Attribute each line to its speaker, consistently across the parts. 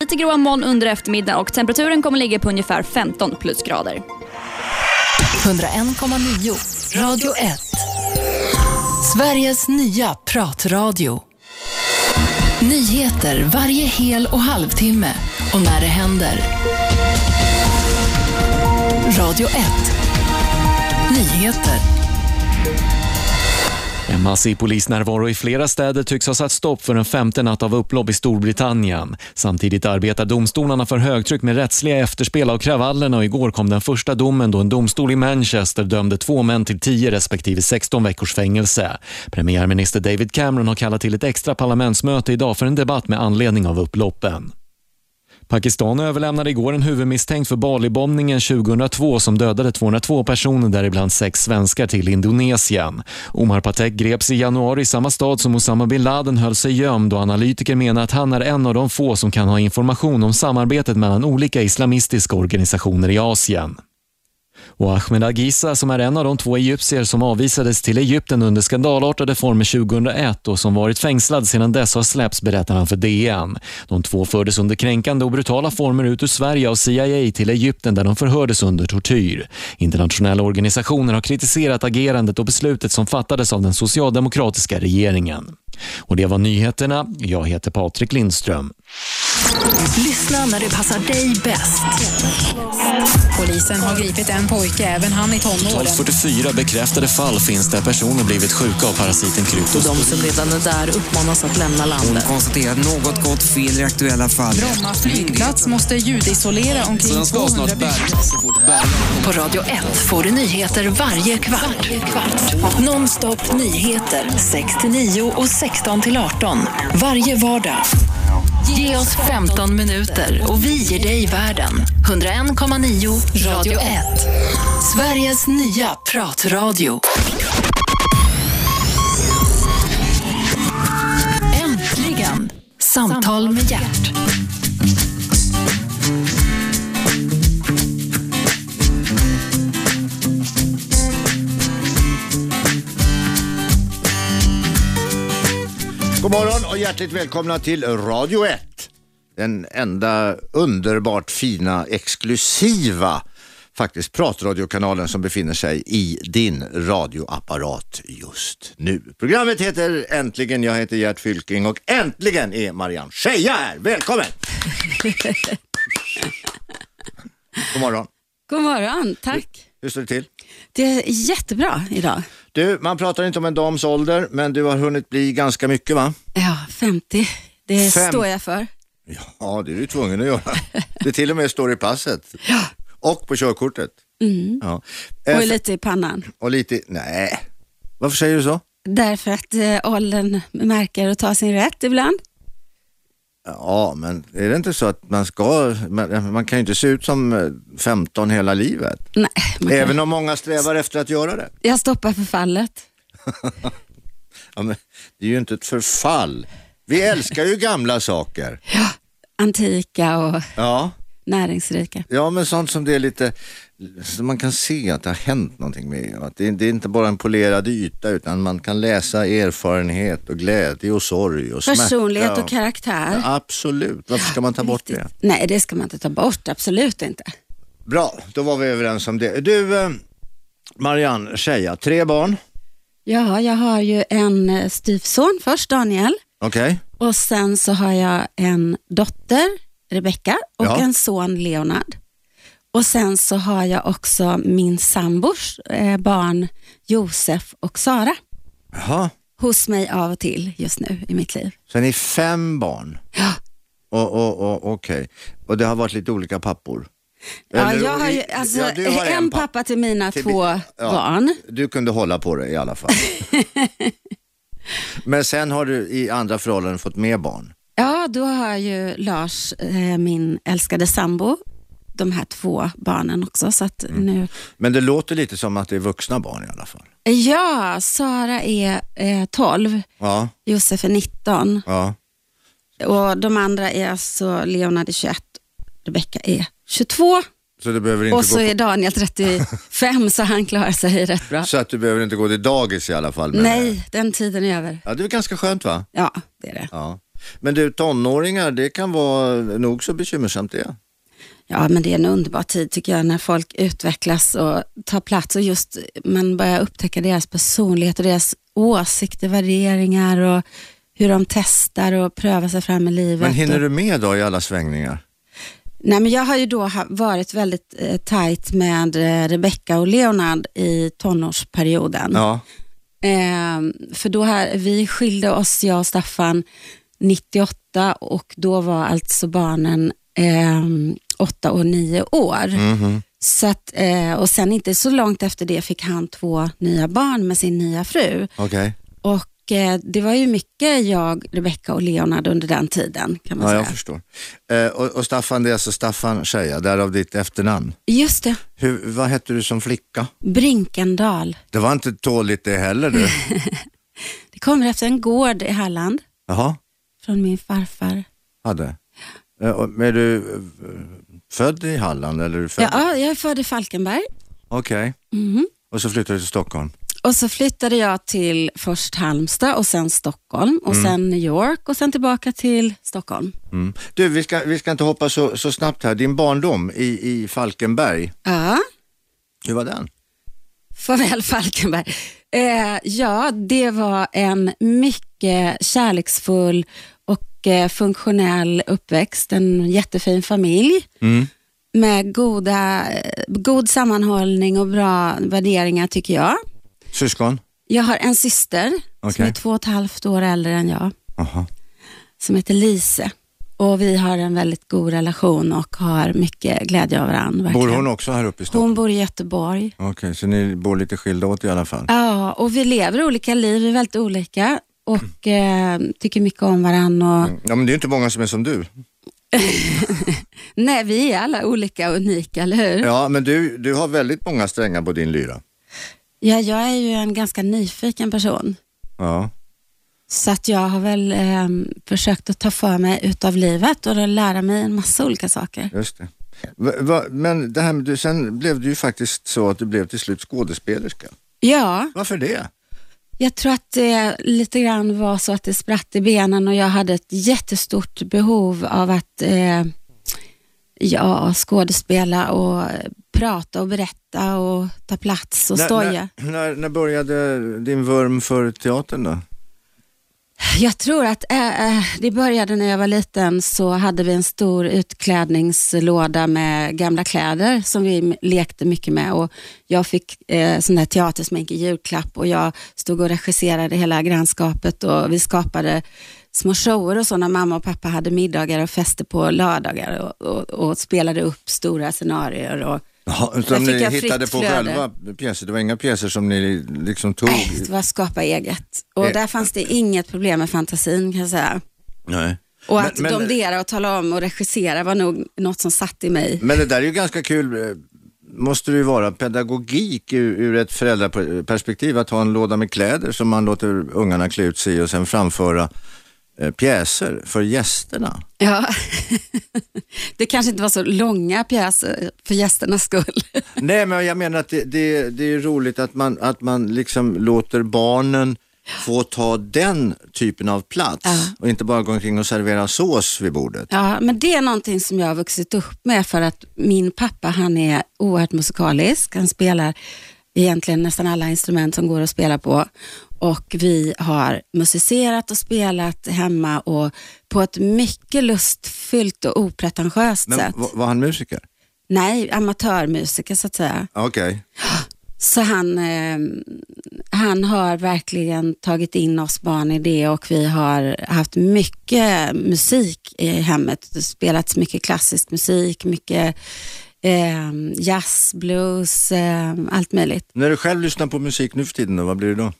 Speaker 1: lite gråa moln under eftermiddagen och temperaturen kommer ligga på ungefär 15 plusgrader.
Speaker 2: 101,9 Radio 1. Sveriges nya pratradio. Nyheter varje hel och halvtimme och när det händer. Radio 1. Nyheter.
Speaker 3: En massiv polisnärvaro i flera städer tycks ha satt stopp för en femte natt av upplopp i Storbritannien. Samtidigt arbetar domstolarna för högtryck med rättsliga efterspel av kravallerna och igår kom den första domen då en domstol i Manchester dömde två män till 10 respektive 16 veckors fängelse. Premiärminister David Cameron har kallat till ett extra parlamentsmöte idag för en debatt med anledning av upploppen. Pakistan överlämnade igår en huvudmisstänkt för Bali-bombningen 2002 som dödade 202 personer, däribland sex svenskar, till Indonesien. Omar Patek greps i januari i samma stad som Osama bin Laden höll sig gömd och analytiker menar att han är en av de få som kan ha information om samarbetet mellan olika islamistiska organisationer i Asien. Och Ahmed Agisa, som är en av de två egyptier som avvisades till Egypten under skandalartade former 2001 och som varit fängslad sedan dess har släppts, berättar han för DN. De två fördes under kränkande och brutala former ut ur Sverige av CIA till Egypten där de förhördes under tortyr. Internationella organisationer har kritiserat agerandet och beslutet som fattades av den socialdemokratiska regeringen. Och Det var nyheterna. Jag heter Patrik Lindström.
Speaker 2: Lyssna när det passar dig bäst.
Speaker 4: Polisen har gripit en pojke, även han i tonåren.
Speaker 3: 44 bekräftade fall finns där personer blivit sjuka av parasiten kryptozoa.
Speaker 2: De som redan är där uppmanas att lämna
Speaker 5: Hon
Speaker 2: landet.
Speaker 5: konstaterar att något gått fel i det aktuella fallet.
Speaker 4: Bromma flygplats måste ljudisolera omkring 200 bilar.
Speaker 5: så fort bärgaren
Speaker 2: På Radio 1 får du nyheter varje kvart. Nonstop nyheter 6 till 9 och 16 till 18. Varje vardag. Ge oss 15 minuter och vi ger dig världen. 101,9 Radio 1. Sveriges nya pratradio. Äntligen! Samtal med hjärt.
Speaker 6: God morgon och hjärtligt välkomna till Radio 1. Den enda underbart fina, exklusiva faktiskt pratradiokanalen som befinner sig i din radioapparat just nu. Programmet heter Äntligen, jag heter Gert Fylking och äntligen är Marianne Scheja här. Välkommen! God morgon,
Speaker 7: God morgon, tack.
Speaker 6: hur står det till?
Speaker 7: Det är jättebra idag.
Speaker 6: Du, man pratar inte om en dams ålder, men du har hunnit bli ganska mycket va?
Speaker 7: Ja, 50. Det
Speaker 6: Fem.
Speaker 7: står jag för.
Speaker 6: Ja, det är du tvungen att göra. Det till och med står i passet. Och på körkortet. Ja. Eh,
Speaker 7: Mm. Och lite i pannan.
Speaker 6: och lite, nej. Varför säger du så?
Speaker 7: Därför att eh, åldern märker att ta sin rätt ibland.
Speaker 6: Ja, men är det inte så att man ska, man, man kan ju inte se ut som eh, 15 hela livet.
Speaker 7: Nej, man kan-
Speaker 6: Även om många strävar efter att göra det.
Speaker 7: jag stoppar förfallet.
Speaker 6: Ja, men, det är ju inte ett förfall. Vi älskar ju gamla saker.
Speaker 7: Antika och
Speaker 6: Ja,
Speaker 7: näringsrika.
Speaker 6: ja men sånt som det är lite, som man kan se att det har hänt någonting med. Att det, det är inte bara en polerad yta utan man kan läsa erfarenhet och glädje och sorg och smärta.
Speaker 7: Personlighet och karaktär.
Speaker 6: Absolut, varför ska man ta bort det?
Speaker 7: Nej, det ska man inte ta bort. Absolut inte.
Speaker 6: Bra, då var vi överens om det. Du, eh, Marianne Scheja, tre barn.
Speaker 7: Ja, jag har ju en eh, styvson först, Daniel.
Speaker 6: Okej,
Speaker 7: Och sen så har jag en dotter, Rebecka, och
Speaker 6: Ja.
Speaker 7: en son, Leonard. Och sen så har jag också min sambors eh, barn, Josef och Sara,
Speaker 6: jaha.
Speaker 7: hos mig av och till just nu i mitt liv.
Speaker 6: Så ni är fem barn?
Speaker 7: Ja.
Speaker 6: Och, och, och, Okej, och det har varit lite olika pappor?
Speaker 7: Ja,
Speaker 6: Eller-
Speaker 7: jag har ju
Speaker 6: Ja,
Speaker 7: alltså,
Speaker 6: du har
Speaker 7: en
Speaker 6: papp-
Speaker 7: pappa till mina
Speaker 6: till-
Speaker 7: två
Speaker 6: ja.
Speaker 7: barn.
Speaker 6: Du kunde hålla på det i alla fall. Men sen har du i andra förhållanden fått mer barn?
Speaker 7: Ja, då har ju Lars, eh, min älskade sambo, de här två barnen också. Så att
Speaker 6: Mm.
Speaker 7: nu...
Speaker 6: Men det låter lite som att det är vuxna barn i alla fall.
Speaker 7: Ja, Sara är eh, 12,
Speaker 6: Ja,
Speaker 7: Josef är 19.
Speaker 6: ja.
Speaker 7: Och de andra är alltså Leonard är 21, Rebecka är 22
Speaker 6: Så du behöver
Speaker 7: och
Speaker 6: inte
Speaker 7: så
Speaker 6: gå
Speaker 7: är Daniel 35 så han klarar sig rätt bra.
Speaker 6: på, så att du behöver inte gå till dagis i alla fall? men-
Speaker 7: Nej, den tiden är över.
Speaker 6: Ja, det är väl ganska skönt va?
Speaker 7: Ja, det är det.
Speaker 6: Ja. Men du, tonåringar, det kan vara nog så bekymmersamt det.
Speaker 7: Ja, men det är en underbar tid tycker jag när folk utvecklas och tar plats och just man börjar upptäcka deras personlighet och deras åsikter, värderingar och hur de testar och prövar sig fram i livet.
Speaker 6: Men hinner
Speaker 7: och...
Speaker 6: du med då i alla svängningar?
Speaker 7: Nej, men jag har ju då ha- varit väldigt eh, tajt med eh, Rebecca och Leonard i tonårsperioden.
Speaker 6: Ja.
Speaker 7: Ehm, för då här, vi skilde oss, jag och Staffan, 98 och då var alltså barnen ehm, åtta och nio år.
Speaker 6: Mhm.
Speaker 7: Så att, eh, och sen inte så långt efter det fick han två nya barn med sin nya fru.
Speaker 6: Okej,
Speaker 7: Och eh, det var ju mycket jag, Rebecca och Leonard under den tiden kan man
Speaker 6: ja, jag
Speaker 7: säga.
Speaker 6: förstår. Eh, och, och Staffan, det är alltså Staffan Scheja, därav ditt efternamn.
Speaker 7: Just det,
Speaker 6: Hur, vad hette du som flicka?
Speaker 7: Brinkendal.
Speaker 6: Det var inte tåligt det heller du.
Speaker 7: Det kommer efter en gård i Halland
Speaker 6: Jaha,
Speaker 7: från min farfar.
Speaker 6: hade. Eh, och- men är du eh, född i Halland eller är du född?
Speaker 7: Ja, jag är född i Falkenberg.
Speaker 6: Okej,
Speaker 7: Mhm.
Speaker 6: och så flyttade du till Stockholm.
Speaker 7: Och så flyttade jag till först Halmstad och sen Stockholm och sen New York och sen tillbaka till Stockholm.
Speaker 6: Mm. Du, vi ska, vi ska inte hoppa så, så snabbt här. Din barndom i, i Falkenberg,
Speaker 7: Ja,
Speaker 6: hur var den?
Speaker 7: farväl Falkenberg. Eh, ja, det var en mycket kärleksfull och eh, funktionell uppväxt. En jättefin familj med goda, eh, god sammanhållning och bra värderingar tycker jag.
Speaker 6: Syskon?
Speaker 7: Jag har en syster som
Speaker 6: Okej.
Speaker 7: är två och ett halvt år äldre än jag.
Speaker 6: Aha.
Speaker 7: som heter Lise. Och vi har en väldigt god relation och har mycket glädje av varandra.
Speaker 6: Bor
Speaker 7: verkligen.
Speaker 6: hon också här uppe i Stockholm?
Speaker 7: Hon bor i Göteborg.
Speaker 6: Okej, så ni bor lite skilda åt i alla fall?
Speaker 7: Ja, och vi lever olika liv, vi är väldigt olika och eh, tycker mycket om varandra. Och,
Speaker 6: Mm. Ja, men det är inte många som är som du.
Speaker 7: Nej, vi är alla olika och unika, eller hur? Ja.
Speaker 6: Ja, men du, du har väldigt många strängar på din lyra.
Speaker 7: jag är ju en ganska nyfiken person.
Speaker 6: Ja.
Speaker 7: Så att jag har väl eh, försökt att ta för mig utav livet och då lära mig en massa olika saker.
Speaker 6: Just det. Va, va, men det här med, du, sen blev du ju faktiskt så att du blev till slut skådespelerska.
Speaker 7: Ja,
Speaker 6: Varför det?
Speaker 7: Jag tror att det lite grann var så att det spratt i benen och jag hade ett jättestort behov av att eh, ja, skådespela och eh, prata och berätta och ta plats och stoja.
Speaker 6: När, när, när började din vurm för teatern då?
Speaker 7: Jag tror att eh, eh, det började när jag var liten så hade vi en stor utklädningslåda med gamla kläder som vi m- lekte mycket med och jag fick eh, sån där teatersmink i julklapp och jag stod och regisserade hela grannskapet och vi skapade små shower och så när mamma och pappa hade middagar och fester på lördagar och, och, och spelade upp stora scenarier. Och,
Speaker 6: Ja,
Speaker 7: Där
Speaker 6: som
Speaker 7: fick
Speaker 6: ni
Speaker 7: jag fritt
Speaker 6: hittade på
Speaker 7: flöde.
Speaker 6: själva pjäser, det var inga pjäser som ni liksom tog?
Speaker 7: nej, äh, det var skapa eget. Och
Speaker 6: Eh.
Speaker 7: där fanns det inget problem med fantasin kan jag säga.
Speaker 6: Nej.
Speaker 7: Och
Speaker 6: Men-
Speaker 7: att
Speaker 6: men-
Speaker 7: domdera och tala om och regissera var nog något som satt i mig.
Speaker 6: Men det där är ju ganska kul, eh, måste det ju vara, pedagogik ur, ur ett föräldraperspektiv, att ha en låda med kläder som man låter ungarna klä ut sig i och sen framföra eh, pjäser för gästerna.
Speaker 7: Ja. det kanske inte var så långa pjäser för gästernas skull.
Speaker 6: Nej, men jag menar att det, det, det är roligt att man, att man liksom låter barnen få ta den typen av plats och inte bara gå omkring och servera sås vid bordet.
Speaker 7: Ja, men det är någonting som jag har vuxit upp med för att min pappa han är oerhört musikalisk. Han spelar egentligen nästan alla instrument som går att spela på och vi har musicerat och spelat hemma och på ett mycket lustfyllt och opretentiöst
Speaker 6: Men
Speaker 7: sätt.
Speaker 6: va- var han musiker?
Speaker 7: Nej, amatörmusiker så att säga.
Speaker 6: Okej.
Speaker 7: Så han, eh, han har verkligen tagit in oss barn i det och vi har haft mycket musik i hemmet. Det har spelats mycket klassisk musik, mycket eh, jazz, blues, eh, allt möjligt.
Speaker 6: När du själv lyssnar på musik nu för tiden, då, vad blir det då?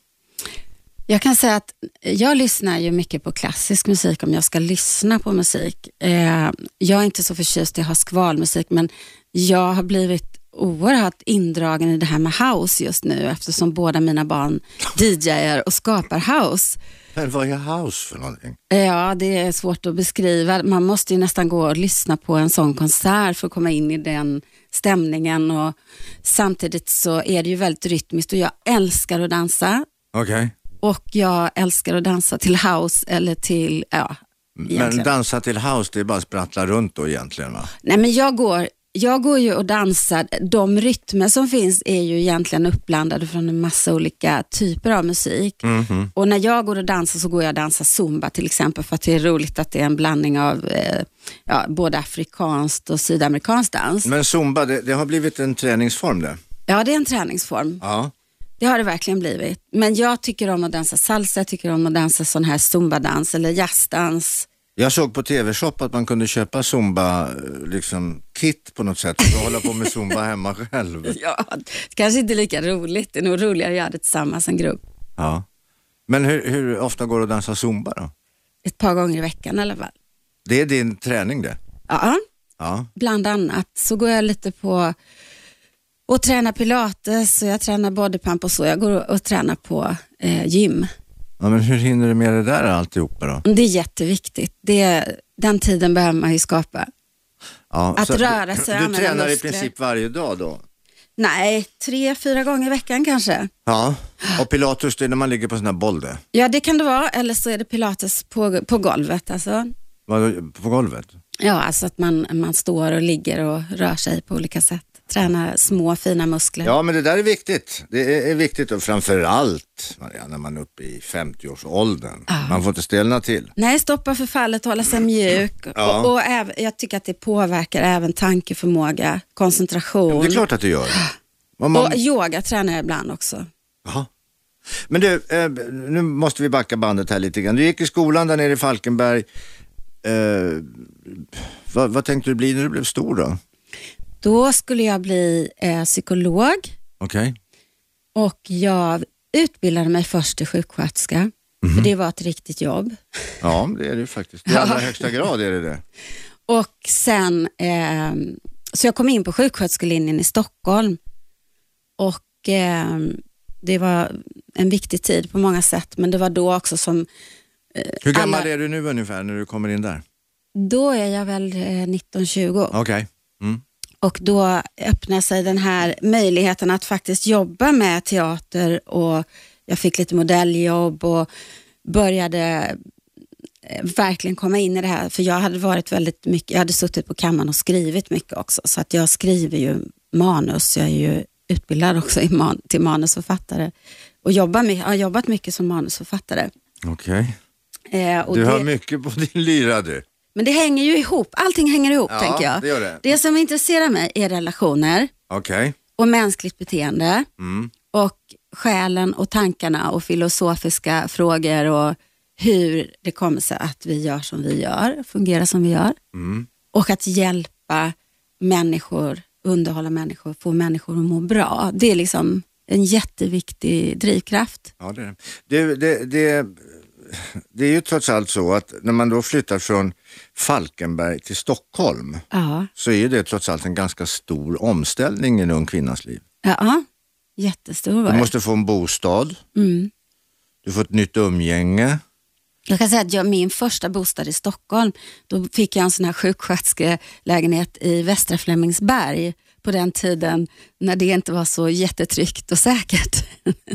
Speaker 7: Jag kan säga att jag lyssnar ju mycket på klassisk musik om jag ska lyssna på musik. Eh, jag är inte så förtjust i att ha skvalmusik men jag har blivit oerhört indragen i det här med house just nu eftersom båda mina barn DJar och skapar house. Eh,
Speaker 6: Men vad är house för någonting?
Speaker 7: Ja, det är svårt att beskriva. Man måste ju nästan gå och lyssna på en sån konsert för att komma in i den stämningen och samtidigt så är det ju väldigt rytmiskt och jag älskar att dansa
Speaker 6: Okej.
Speaker 7: och jag älskar att dansa till house eller till ja,
Speaker 6: Men
Speaker 7: egentligen.
Speaker 6: dansa till house, det är bara att sprattla runt då egentligen va?
Speaker 7: Nej, men jag går, jag går ju och dansar. De rytmer som finns är ju egentligen uppblandade från en massa olika typer av musik.
Speaker 6: Mhm.
Speaker 7: Och när jag går och dansar så går jag och dansar zumba till exempel för att det är roligt att det är en blandning av eh, ja, både afrikanskt och sydamerikanskt dans.
Speaker 6: Men zumba, det, det har blivit en träningsform det.
Speaker 7: Ja, det är en träningsform.
Speaker 6: Ja.
Speaker 7: Det har det verkligen blivit. Men jag tycker om att dansa salsa, jag tycker om att dansa sån här zumbadans eller jazzdans.
Speaker 6: Jag såg på TV-shop att man kunde köpa zumba, eh, liksom kit på något sätt och hålla på med zumba hemma själv.
Speaker 7: Ja, det kanske inte är lika roligt. Det är nog roligare att göra det tillsammans en grupp.
Speaker 6: Ja. Men hur, hur ofta går du att dansa zumba då?
Speaker 7: Ett par gånger i veckan i alla fall.
Speaker 6: Det är din träning det?
Speaker 7: Ja,
Speaker 6: Ja.
Speaker 7: bland annat så går jag lite på och tränar pilates och jag tränar bodypump och så. Jag går och, och tränar på eh, gym.
Speaker 6: ja. Men hur hinner du med det där alltihopa då?
Speaker 7: Det är jätteviktigt. Det, den tiden behöver man ju skapa.
Speaker 6: Ja,
Speaker 7: Att
Speaker 6: så
Speaker 7: röra sig,
Speaker 6: Du, du
Speaker 7: använda
Speaker 6: tränar i
Speaker 7: muskler.
Speaker 6: princip varje dag då?
Speaker 7: Nej, tre, fyra gånger i veckan kanske.
Speaker 6: Ja. Och pilatus, det är när man ligger på sån här boll det?
Speaker 7: Ja, det kan det vara. Eller så är det pilates på, på golvet. Alltså.
Speaker 6: Vadå, På golvet?
Speaker 7: Ja, alltså att man, man står och ligger och rör sig på olika sätt. Tränar små fina muskler.
Speaker 6: Ja, men det där är viktigt. Det är, är viktigt och framförallt Maria, när man är uppe i 50-årsåldern. Man får inte stelna till.
Speaker 7: Nej, stoppa förfallet, hålla sig mjuk.
Speaker 6: Ja.
Speaker 7: Och, och äv, jag tycker att det påverkar även tankeförmåga, koncentration.
Speaker 6: Det är klart att du gör. Vad Man,
Speaker 7: Och yoga tränar jag ibland också.
Speaker 6: Jaha. Men du, eh, nu måste vi backa bandet här lite grann. Du gick i skolan där nere i Falkenberg. Eh, vad, vad tänkte du bli när du blev stor då?
Speaker 7: Då skulle jag bli eh, psykolog
Speaker 6: Okej.
Speaker 7: och jag utbildade mig först till sjuksköterska. För
Speaker 6: Mhm.
Speaker 7: det var ett riktigt jobb.
Speaker 6: Ja, det är det ju faktiskt. I allra högsta grad är det det.
Speaker 7: Och sen, eh, så jag kom in på sjuksköterskelinjen i Stockholm och eh, det var en viktig tid på många sätt, men det var då också som,
Speaker 6: Hur gammal
Speaker 7: Alla-
Speaker 6: är du nu ungefär när du kommer in där?
Speaker 7: då är jag väl eh, 19-20
Speaker 6: Okej. Mm.
Speaker 7: och då öppnar sig den här möjligheten att faktiskt jobba med teater och jag fick lite modelljobb och började eh, verkligen komma in i det här, för jag hade varit väldigt mycket, jag hade suttit på kammaren och skrivit mycket också, så att jag skriver ju manus, jag är ju utbildad också i man, till manusförfattare och jobbar, my- har jobbat mycket som manusförfattare.
Speaker 6: Okej.
Speaker 7: Eh, och
Speaker 6: Du
Speaker 7: det-
Speaker 6: har mycket på din lyra du.
Speaker 7: men det hänger ju ihop, allting hänger ihop
Speaker 6: Ja,
Speaker 7: tänker jag.
Speaker 6: det gör det.
Speaker 7: det som intresserar mig är relationer,
Speaker 6: Okej.
Speaker 7: och mänskligt beteende
Speaker 6: Mm.
Speaker 7: och själen och tankarna och filosofiska frågor och hur det kommer sig att vi gör som vi gör, fungerar som vi gör.
Speaker 6: mm.
Speaker 7: Och att hjälpa människor, underhålla människor, få människor att må bra. Det är liksom en jätteviktig drivkraft.
Speaker 6: Ja, det är det. Du, det, det. Det är ju trots allt så att när man då flyttar från Falkenberg till Stockholm
Speaker 7: Ja,
Speaker 6: så är ju det trots allt en ganska stor omställning i en ung kvinnas liv.
Speaker 7: ja jättestor var
Speaker 6: Du
Speaker 7: det.
Speaker 6: måste få en bostad,
Speaker 7: Mm.
Speaker 6: du får ett nytt umgänge.
Speaker 7: Jag kan säga att jag, min första bostad i Stockholm, då fick jag en sån här sjuksköterskelägenhet i Västra Flemingsberg på den tiden när det inte var så jättetryggt och säkert.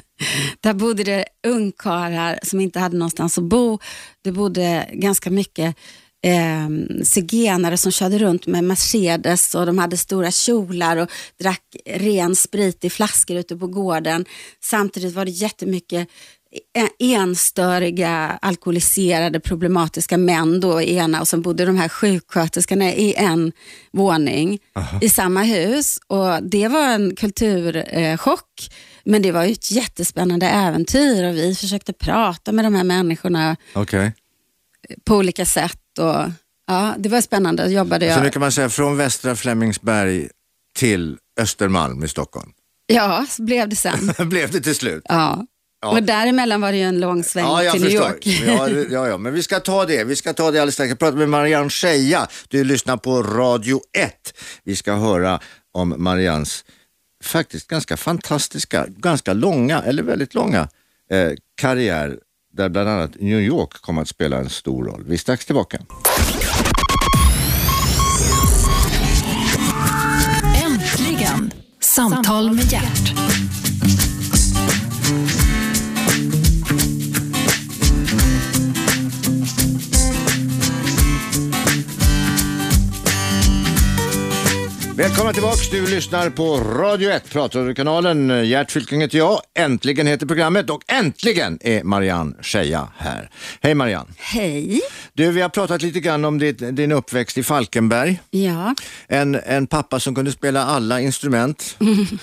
Speaker 7: Där bodde det ungkarlar som inte hade någonstans att bo. Det bodde ganska mycket eh, zigenare som körde runt med Mercedes och de hade stora kjolar och drack ren sprit i flaskor ute på gården. Samtidigt var det jättemycket e- enstöriga, alkoholiserade, problematiska män då i ena och sen bodde de här sjuksköterskorna i en våning i samma hus och det var en kulturchock. Men det var ju ett jättespännande äventyr och vi försökte prata med de här människorna
Speaker 6: Okej.
Speaker 7: på olika sätt. Och, ja, det var spännande, då jobbade
Speaker 6: Så nu
Speaker 7: jag.
Speaker 6: kan man säga från Västra Flemingsberg till Östermalm i Stockholm.
Speaker 7: Ja, så blev det sen.
Speaker 6: Blev det till slut.
Speaker 7: Ja.
Speaker 6: Ja.
Speaker 7: Och däremellan var det ju en lång sväng
Speaker 6: Ja, jag
Speaker 7: till New
Speaker 6: förstår.
Speaker 7: York.
Speaker 6: Ja, det- ja, ja, men vi ska ta det. Vi ska ta det alldeles strax. Jag pratar med Marianne Scheja. Du lyssnar på Radio 1. Vi ska höra om Marians faktiskt ganska fantastiska, ganska långa, eller väldigt långa eh, karriär där bland annat New York kommer att spela en stor roll. Vi är strax tillbaka.
Speaker 2: Äntligen! Samtal med hjärt.
Speaker 6: Välkomna tillbaka, du lyssnar på Radio 1, Pratradiokanalen. Gert Fylking heter jag, äntligen heter programmet och äntligen är Marianne Scheja här. Hej Marianne!
Speaker 7: Hej.
Speaker 6: Du, vi har pratat lite grann om ditt, din uppväxt i Falkenberg.
Speaker 7: Ja.
Speaker 6: En, en pappa som kunde spela alla instrument.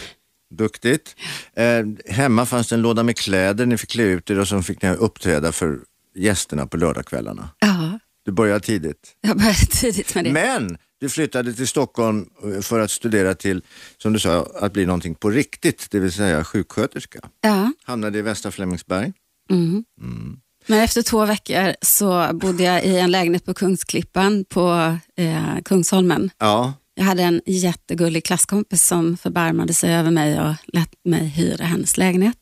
Speaker 6: Duktigt. Eh, hemma fanns det en låda med kläder, ni fick klä ut er och så fick ni uppträda för gästerna på lördagskvällarna.
Speaker 7: ja,
Speaker 6: Du började tidigt.
Speaker 7: jag började tidigt med det.
Speaker 6: Men du flyttade till Stockholm eh, för att studera till, som du sa, att bli någonting på riktigt, det vill säga sjuksköterska.
Speaker 7: Ja.
Speaker 6: Hamnade i Västra Flemingsberg.
Speaker 7: Men efter två veckor så bodde jag i en lägenhet på Kungsklippan på eh, Kungsholmen.
Speaker 6: Ja,
Speaker 7: Jag hade en jättegullig klasskompis som förbarmade sig över mig och lät mig hyra hennes lägenhet.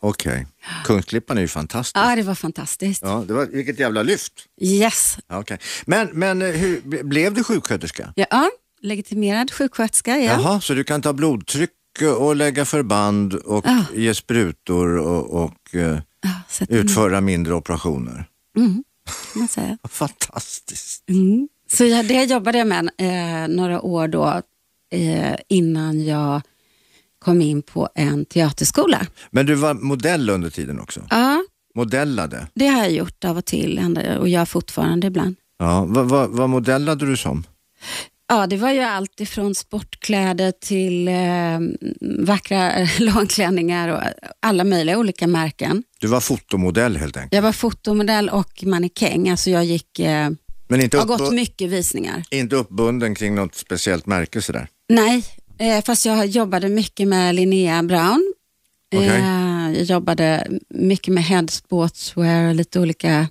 Speaker 6: okej. Kungsklippan är ju fantastisk.
Speaker 7: Ja, det var fantastiskt.
Speaker 6: Ja, det var, vilket jävla lyft.
Speaker 7: Yes.
Speaker 6: Ja, okej. Men, men eh, hur, b- blev du sjuksköterska?
Speaker 7: Ja, Ja, legitimerad sjuksköterska. Ja.
Speaker 6: Jaha, så du kan ta blodtryck och lägga förband och
Speaker 7: Ja. Mm.
Speaker 6: ge sprutor och, och eh,
Speaker 7: Ja, så att, mm,
Speaker 6: utföra mindre operationer.
Speaker 7: kan man säga.
Speaker 6: Fantastiskt.
Speaker 7: Mm. Så jag, det jobbade jag med eh, några år då eh, innan jag kom in på en teaterskola.
Speaker 6: Men du var modell under tiden också?
Speaker 7: Ja,
Speaker 6: Modellade?
Speaker 7: det har jag gjort av och till ändå, och gör fortfarande ibland.
Speaker 6: Ja, vad, vad, vad modellade du som?
Speaker 7: Ja, det var ju allt ifrån sportkläder till eh, vackra långklänningar och alla möjliga olika märken.
Speaker 6: Du var fotomodell helt enkelt.
Speaker 7: Jag var fotomodell och mannekäng, alltså jag gick, eh,
Speaker 6: Men inte,
Speaker 7: jag har gått
Speaker 6: uppbu-
Speaker 7: mycket visningar.
Speaker 6: inte uppbunden kring något speciellt märke sådär?
Speaker 7: Nej, eh, fast jag jobbade mycket med Linnea Brown.
Speaker 6: Okej.
Speaker 7: Eh, jag jobbade mycket med Head Sportswear och lite olika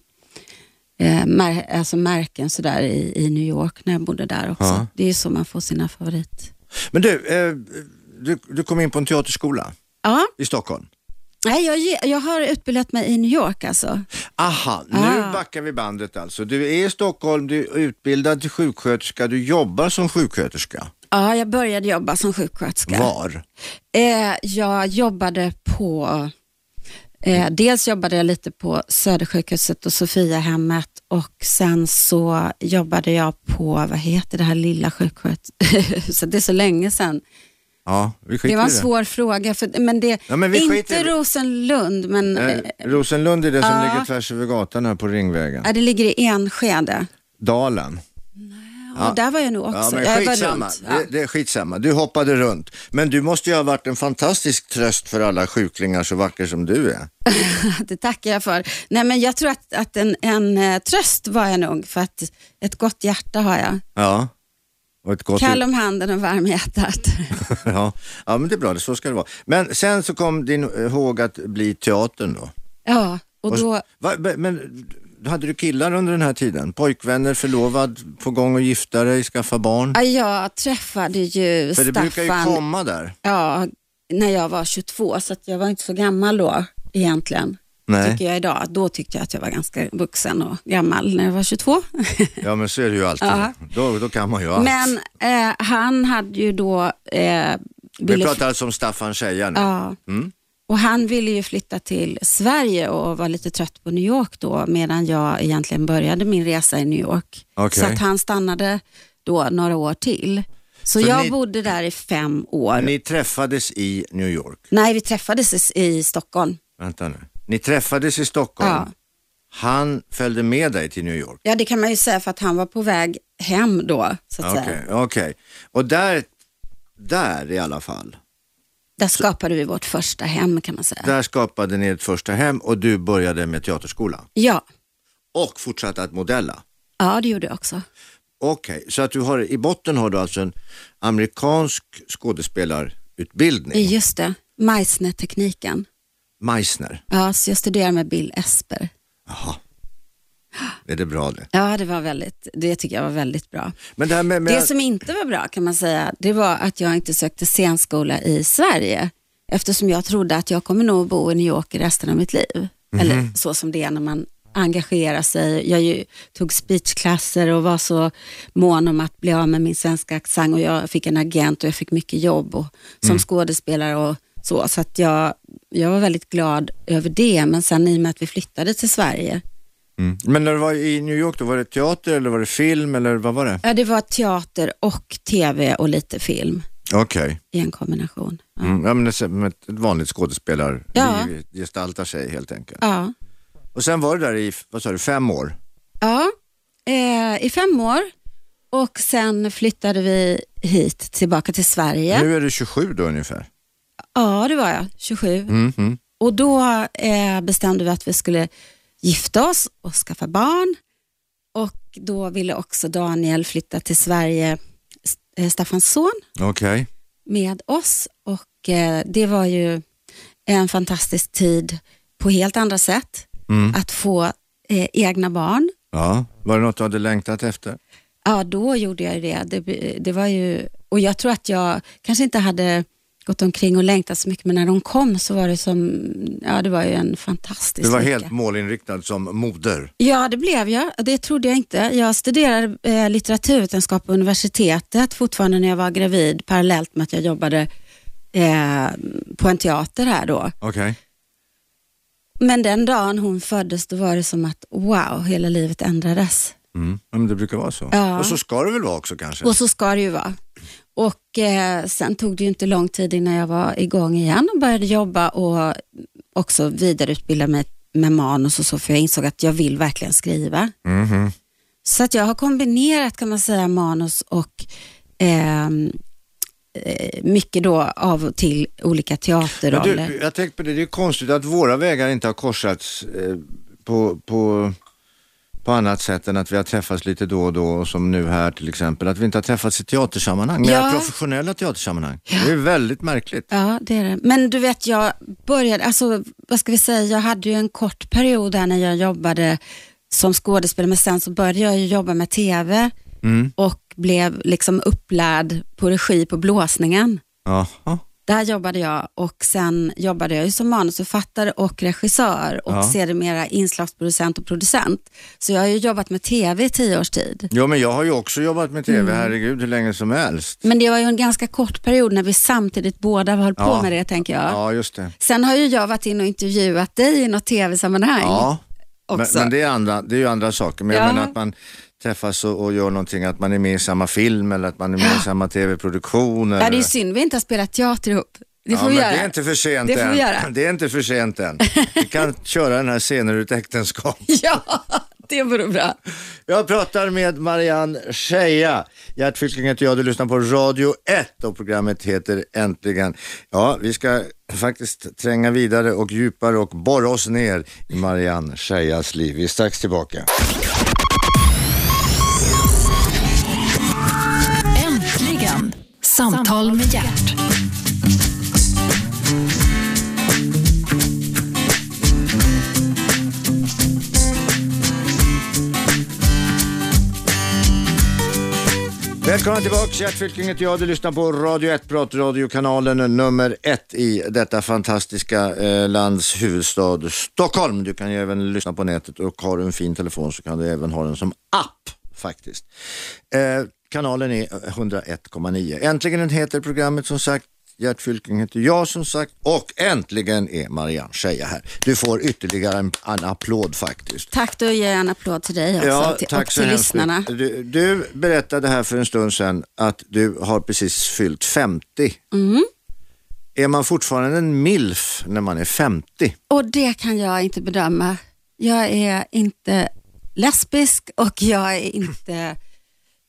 Speaker 7: eh, mär- alltså märken sådär i, i New York när jag bodde där också.
Speaker 6: Ja.
Speaker 7: Det är ju så man får sina favorit.
Speaker 6: Men du, eh, du, du kom in på en teaterskola
Speaker 7: Ja,
Speaker 6: i Stockholm.
Speaker 7: nej, jag, ge- jag har utbildat mig i New York alltså.
Speaker 6: Aha, nu
Speaker 7: Ah.
Speaker 6: backar vi bandet alltså. Du är i Stockholm, du är utbildad till sjuksköterska, du jobbar som sjuksköterska.
Speaker 7: Ja, jag började jobba som sjuksköterska.
Speaker 6: Var?
Speaker 7: Eh, jag jobbade på, eh, dels jobbade jag lite på Södersjukhuset och Sofiahemmet och sen så jobbade jag på, vad heter det här lilla sjuksköterskehuset, det är så länge sedan.
Speaker 6: Ja, vi skiter
Speaker 7: Det var en
Speaker 6: i det.
Speaker 7: svår fråga, för, men det,
Speaker 6: Ja, men vi skiter i
Speaker 7: inte
Speaker 6: det.
Speaker 7: Rosenlund, men eh,
Speaker 6: Eh, Rosenlund är det som ligger tvärs över gatan här på Ringvägen.
Speaker 7: ja, det ligger i Enskede.
Speaker 6: Dalen.
Speaker 7: Ja. Och där var jag nog också.
Speaker 6: Ja, men
Speaker 7: jag var
Speaker 6: skitsamma.
Speaker 7: runt. Ja.
Speaker 6: Det, det är skitsamma. Du hoppade runt. Men du måste ju ha varit en fantastisk tröst för alla sjuklingar så vacker som du är.
Speaker 7: Det tackar jag för. Nej, men jag tror att, att en, en eh, tröst var jag nog, för att ett gott hjärta har jag.
Speaker 6: Ja. Och typ- ett gott
Speaker 7: Kall om handen och varm i hjärtat.
Speaker 6: ja. ja, men det är bra. Så ska det vara. Men sen så kom din eh, håg att bli teatern då.
Speaker 7: Ja, och då,
Speaker 6: Va, be- men hade du killar under den här tiden? Pojkvänner, förlovad, på gång att gifta dig, skaffa barn?
Speaker 7: ja, jag träffade ju
Speaker 6: För det brukar ju
Speaker 7: Staffan
Speaker 6: komma där.
Speaker 7: ja, när jag var 22, så att jag var inte så gammal då egentligen.
Speaker 6: Nej.
Speaker 7: Tycker jag idag. Då tyckte jag att jag var ganska vuxen och gammal när jag var 22.
Speaker 6: Ja, men så är det ju alltid.
Speaker 7: Ja.
Speaker 6: Då, då kan man ju allt.
Speaker 7: Men eh, han hade ju då... Eh,
Speaker 6: Vi
Speaker 7: ville-
Speaker 6: pratar alltså om Staffan Scheja nu.
Speaker 7: Ja.
Speaker 6: Mm.
Speaker 7: Och han ville ju flytta till Sverige och var lite trött på New York då, medan jag egentligen började min resa i New York.
Speaker 6: Okej.
Speaker 7: Så att han stannade då några år till. Så,
Speaker 6: Så
Speaker 7: jag
Speaker 6: ni-
Speaker 7: bodde där i fem år.
Speaker 6: Ni träffades i New York.
Speaker 7: Nej, vi träffades i- i Stockholm.
Speaker 6: Vänta nu. Ni träffades i Stockholm.
Speaker 7: Ja.
Speaker 6: Han följde med dig till New York.
Speaker 7: Ja, det kan man ju säga för att han var på väg hem då, så att
Speaker 6: Okej,
Speaker 7: säga.
Speaker 6: okej. Och där, där i alla fall,
Speaker 7: Där skapade vi vårt första hem kan man säga.
Speaker 6: där skapade ni ett första hem och du började med teaterskola.
Speaker 7: Ja.
Speaker 6: Och fortsatte att modella.
Speaker 7: ja, det gjorde jag också.
Speaker 6: Okej, så att du har, i botten har du alltså en amerikansk skådespelarutbildning.
Speaker 7: Just det, Meissner-tekniken.
Speaker 6: Meissner.
Speaker 7: Ja, så jag studerade med Bill Esper.
Speaker 6: Jaha. Är det bra det?
Speaker 7: Ja, det var väldigt, det tycker jag var väldigt bra.
Speaker 6: Men det här med... med
Speaker 7: Det som inte var bra kan man säga, det var att jag inte sökte scenskola i Sverige eftersom jag trodde att jag kommer nog bo i New York i resten av mitt liv. Eller så som det är när man engagerar sig. Jag ju, tog speechklasser och var så mån om att bli av med min svenska accent och jag fick en agent och jag fick mycket jobb och, som skådespelare och så. Så att jag, jag var väldigt glad över det, men sen i och med att vi flyttade till Sverige
Speaker 6: Men när du var i New York, då var det teater eller var det film eller vad var det?
Speaker 7: Ja, det var teater och tv och lite film
Speaker 6: Okej,
Speaker 7: i en kombination. Ja.
Speaker 6: mm. ja, men det är som ett ett vanligt skådespelarliv
Speaker 7: Ja.
Speaker 6: gestaltar sig helt enkelt.
Speaker 7: Ja.
Speaker 6: Och sen var du där i, vad sa du, fem år?
Speaker 7: Ja, eh, i fem år och sen flyttade vi hit tillbaka till Sverige.
Speaker 6: Nu är du 27 då ungefär.
Speaker 7: Ja, det var jag, 27.
Speaker 6: Mm.
Speaker 7: Och då eh, bestämde vi att vi skulle gifta oss och skaffa barn. Och då ville också Daniel flytta till Sverige, S- eh, Staffans son,
Speaker 6: Okej.
Speaker 7: med oss. Och eh, det var ju en fantastisk tid på helt andra sätt.
Speaker 6: Mm.
Speaker 7: Att få eh, egna barn.
Speaker 6: Ja. Var det något du hade längtat efter?
Speaker 7: Ja, då gjorde jag ju det. det. be- Det var ju, och jag tror att jag kanske inte hade gått omkring och längtat så mycket, men när de kom så var det som, ja det var ju en fantastisk
Speaker 6: Du var
Speaker 7: lycka.
Speaker 6: helt målinriktad som moder.
Speaker 7: Ja, det blev jag. Det trodde jag inte. Jag studerade eh, litteraturvetenskap på universitetet fortfarande när jag var gravid, parallellt med att jag jobbade eh, på en teater här då.
Speaker 6: Okej.
Speaker 7: Men den dagen hon föddes, då var det som att wow, hela livet ändrades.
Speaker 6: Mm. Ja, men det brukar vara så.
Speaker 7: Ja.
Speaker 6: Och så ska det väl vara också kanske?
Speaker 7: Och så ska det ju vara. Och eh, sen tog det ju inte lång tid innan jag var igång igen och började jobba och också vidareutbilda mig med manus och så, för jag insåg att jag vill verkligen skriva.
Speaker 6: Mm-hmm.
Speaker 7: Så att jag har kombinerat kan man säga manus och ehm, eh, mycket då av och till olika
Speaker 6: Men
Speaker 7: teaterroller.
Speaker 6: Du, jag tänkte på det, det är konstigt att våra vägar inte har korsats eh, på, på, på annat sätt än att vi har träffats lite då och då, och som nu här till exempel, att vi inte har träffats i teatersammanhang,
Speaker 7: Ja.
Speaker 6: mera professionella teatersammanhang. Det är väldigt märkligt.
Speaker 7: Ja, det är det. Men du vet, jag började, alltså vad ska vi säga, jag hade ju en kort period här när jag jobbade som skådespelare, men sen så började jag ju jobba med tv
Speaker 6: Mm.
Speaker 7: och blev liksom upplärd på regi på blåsningen.
Speaker 6: Jaha.
Speaker 7: Där jobbade jag och sen jobbade jag ju som manusförfattare och regissör och sedermera inslagsproducent och producent. Så jag har ju jobbat med tv i tio års tid.
Speaker 6: Ja, men jag har ju också jobbat med tv,
Speaker 7: Mm.
Speaker 6: herregud, hur länge som helst.
Speaker 7: Men det var ju en ganska kort period när vi samtidigt båda höll på
Speaker 6: Ja.
Speaker 7: med det, tänker jag.
Speaker 6: Ja, just det.
Speaker 7: Sen har ju jag varit inne och intervjuat dig i något tv-sammanhang.
Speaker 6: Ja. Men,
Speaker 7: också.
Speaker 6: men det, är andra, det är ju andra saker, men
Speaker 7: Ja.
Speaker 6: jag menar att man träffas och, och gör någonting, att man är med i samma film eller att man är med i samma tv-produktion.
Speaker 7: Ja, det är
Speaker 6: eller-
Speaker 7: ju synd vi inte har spelat teater ihop. Det får
Speaker 6: ja,
Speaker 7: vi
Speaker 6: men
Speaker 7: göra.
Speaker 6: Det är inte för sent
Speaker 7: Det får
Speaker 6: än.
Speaker 7: vi göra.
Speaker 6: Det är inte för sent än. Vi kan köra den här scener ut äktenskap.
Speaker 7: Ja, det vore bra.
Speaker 6: Jag pratar med Marianne Scheja. Gert Fylking heter jag, du lyssnar på Radio 1 och programmet heter Äntligen. Ja, vi ska faktiskt tränga vidare och djupare och borra oss ner i Marianne Scheias liv. Vi är strax tillbaka.
Speaker 2: Äntligen! Samtal med hjärt.
Speaker 6: Välkomna tillbaka, Gert Fylking heter jag. Du lyssnar på Radio 1, pratradiokanalen nummer ett i detta fantastiska eh, lands huvudstad Stockholm. Du kan ju även lyssna på nätet och har du en fin telefon så kan du även ha den som app faktiskt. Eh, kanalen är 101,9. Äntligen heter programmet som sagt. Gert Fylking heter jag som sagt och äntligen är Marianne Scheja här. Du får ytterligare en, en applåd faktiskt.
Speaker 7: Tack, då ger jag en applåd till dig också Alltså, till, och till
Speaker 6: hemskt
Speaker 7: lyssnarna.
Speaker 6: mycket. Du, du berättade här för en stund sedan att du har precis fyllt 50.
Speaker 7: Mm.
Speaker 6: Är man fortfarande en milf när man är 50?
Speaker 7: Och det kan jag inte bedöma. Jag är inte lesbisk och jag är inte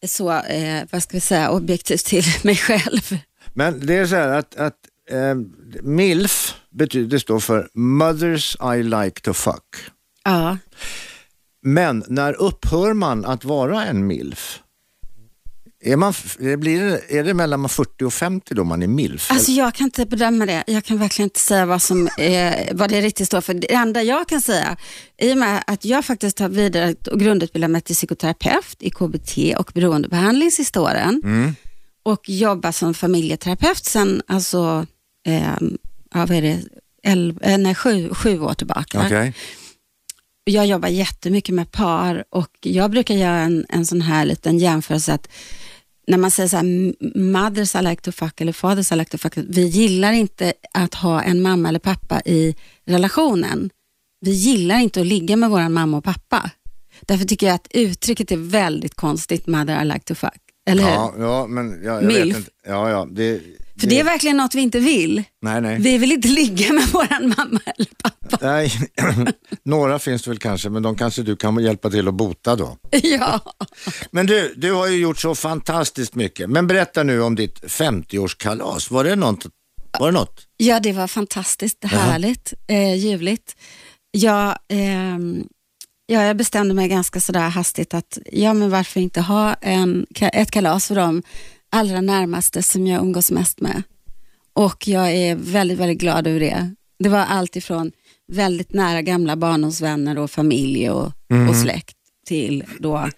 Speaker 7: så, eh, vad ska vi säga, objektiv till mig själv.
Speaker 6: Men det är så här att, att eh, milf betyder står för mothers I like to fuck.
Speaker 7: Ja.
Speaker 6: Men när upphör man att vara en milf? Är, man, f- det blir, är det mellan 40 och 50 då man är milf?
Speaker 7: Alltså jag kan inte bedöma det. Jag kan verkligen inte säga vad, som, eh, vad det riktigt står för. Det enda jag kan säga, i och med att jag faktiskt har vidare och grundutbildat mig till psykoterapeut i KBT och beroendebehandling sista åren och jobbar som familjeterapeut sedan, alltså, eh, ja, vad är det, elv, eh, nej, sju, sju år tillbaka.
Speaker 6: Okej.
Speaker 7: Jag jobbar jättemycket med par och jag brukar göra en, en sån här liten jämförelse att när man säger så här, "M- mothers I like to fuck eller fathers I like to fuck, vi gillar inte att ha en mamma eller pappa i relationen. vi gillar inte att ligga med vår mamma och pappa. Därför tycker jag att uttrycket är väldigt konstigt, mother I like to fuck. Eller hur?
Speaker 6: Ja, ja, men jag, jag vet
Speaker 7: Milf.
Speaker 6: inte. Ja, ja, det,
Speaker 7: För det är verkligen något vi inte vill.
Speaker 6: Nej, nej.
Speaker 7: Vi vill inte ligga med vår mamma eller pappa.
Speaker 6: nej. Några finns det väl kanske, men de kanske du kan hjälpa till att bota då.
Speaker 7: Ja.
Speaker 6: Men du, du har ju gjort så fantastiskt mycket. Men berätta nu om ditt 50-årskalas. Var det något? Var det något?
Speaker 7: Ja, det var fantastiskt härligt, eh, ljuvligt. Jag, ehm, ja, jag bestämde mig ganska sådär hastigt att ja, men varför inte ha en, ka- ett kalas för de allra närmaste som jag umgås mest med. Och jag är väldigt, väldigt glad över det. Det var allt ifrån väldigt nära gamla barndomsvänner och familj och, och släkt till då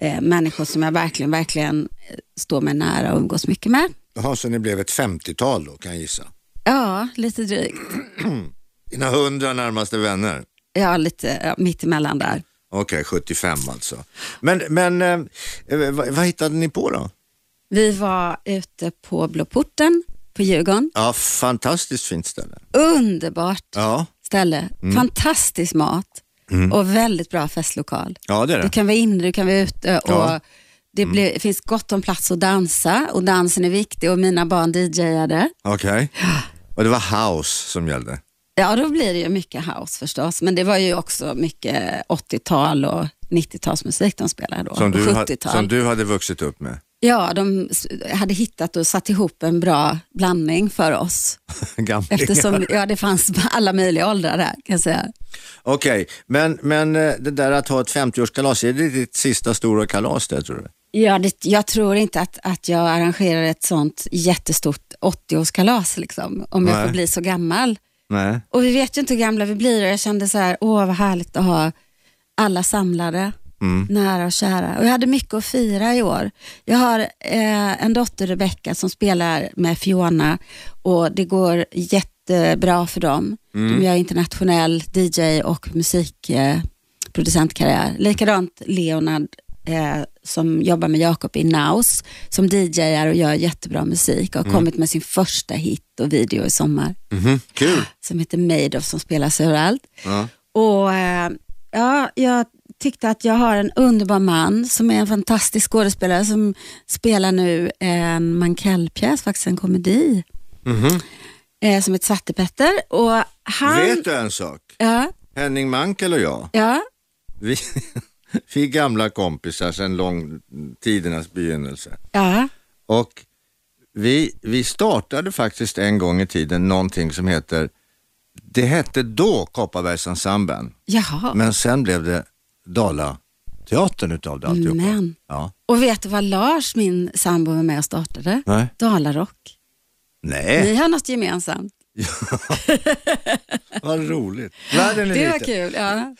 Speaker 7: eh, människor som jag verkligen, verkligen eh, står mig nära och umgås mycket med.
Speaker 6: Jaha, så ni blev ett 50-tal då kan jag gissa.
Speaker 7: Ja, lite drygt.
Speaker 6: Dina hundra närmaste vänner.
Speaker 7: Ja, lite ja, mittemellan där.
Speaker 6: Okej, 75 alltså. Men, men eh, eh, vad, vad hittade ni på då?
Speaker 7: Vi var ute på Blå porten på Djurgården.
Speaker 6: Ja, fantastiskt fint ställe.
Speaker 7: Underbart
Speaker 6: Ja,
Speaker 7: ställe,
Speaker 6: Mm.
Speaker 7: fantastisk mat och väldigt bra festlokal.
Speaker 6: ja det är
Speaker 7: Du
Speaker 6: det.
Speaker 7: kan vara inne, du kan vara ute och
Speaker 6: Ja. Mm.
Speaker 7: det blir, finns gott om plats att dansa och dansen är viktig och mina barn DJade.
Speaker 6: Okej. Och det var house som gällde.
Speaker 7: Ja, då blir det ju mycket house förstås, men det var ju också mycket 80-tal och 90-talsmusik de spelade då.
Speaker 6: Som
Speaker 7: och
Speaker 6: du, ha,
Speaker 7: 70-tal.
Speaker 6: som du hade vuxit upp med.
Speaker 7: Ja, de s- hade hittat och satt ihop en bra blandning för oss.
Speaker 6: Gamlingar.
Speaker 7: Eftersom ja, det fanns alla möjliga åldrar där kan jag säga.
Speaker 6: Okej, men, men eh, det där att ha ett 50-årskalas, är det ditt sista stora kalas det tror du?
Speaker 7: Ja, det, jag tror inte att, att jag arrangerar ett sånt jättestort 80-årskalas liksom, om jag
Speaker 6: Nej.
Speaker 7: får bli så gammal.
Speaker 6: Nej.
Speaker 7: Och vi vet ju inte hur gamla vi blir och jag kände så här, åh vad härligt att ha alla samlade, nära och kära. Och jag hade mycket att fira i år. Jag har eh, en dotter, Rebecca, som spelar med Fiona och det går jättebra för dem. De gör internationell DJ och musikproducentkarriär. Eh, producentkarriär. Likadant Leonard eh, som jobbar med Jakob i Naus som DJar och gör jättebra musik och har kommit med sin första hit och video i sommar
Speaker 6: Mhm, Kul.
Speaker 7: som heter Made of som spelas överallt. Och eh, ja, jag tyckte att jag har en underbar man som är en fantastisk skådespelare som spelar nu en Mankell-pjäs, faktiskt en komedi,
Speaker 6: Mhm.
Speaker 7: eh, som heter Svartepetter. Och han...
Speaker 6: Vet du en sak?
Speaker 7: Ja,
Speaker 6: Henning Mankell och jag,
Speaker 7: ja,
Speaker 6: vi, vi är gamla kompisar sedan lång tidernas begynnelse.
Speaker 7: ja.
Speaker 6: Och vi, vi startade faktiskt en gång i tiden någonting som heter, det hette då Kopparbergsensemblen,
Speaker 7: Jaha.
Speaker 6: men sen blev det Dalateatern utav det alltihopa.
Speaker 7: Men.
Speaker 6: Ja.
Speaker 7: Och vet du vad Lars, min sambo, var med och startade?
Speaker 6: Nej.
Speaker 7: Dalarock.
Speaker 6: Nej,
Speaker 7: Ni har något gemensamt.
Speaker 6: vad roligt. Världen är
Speaker 7: Det var
Speaker 6: liten.
Speaker 7: kul, ja.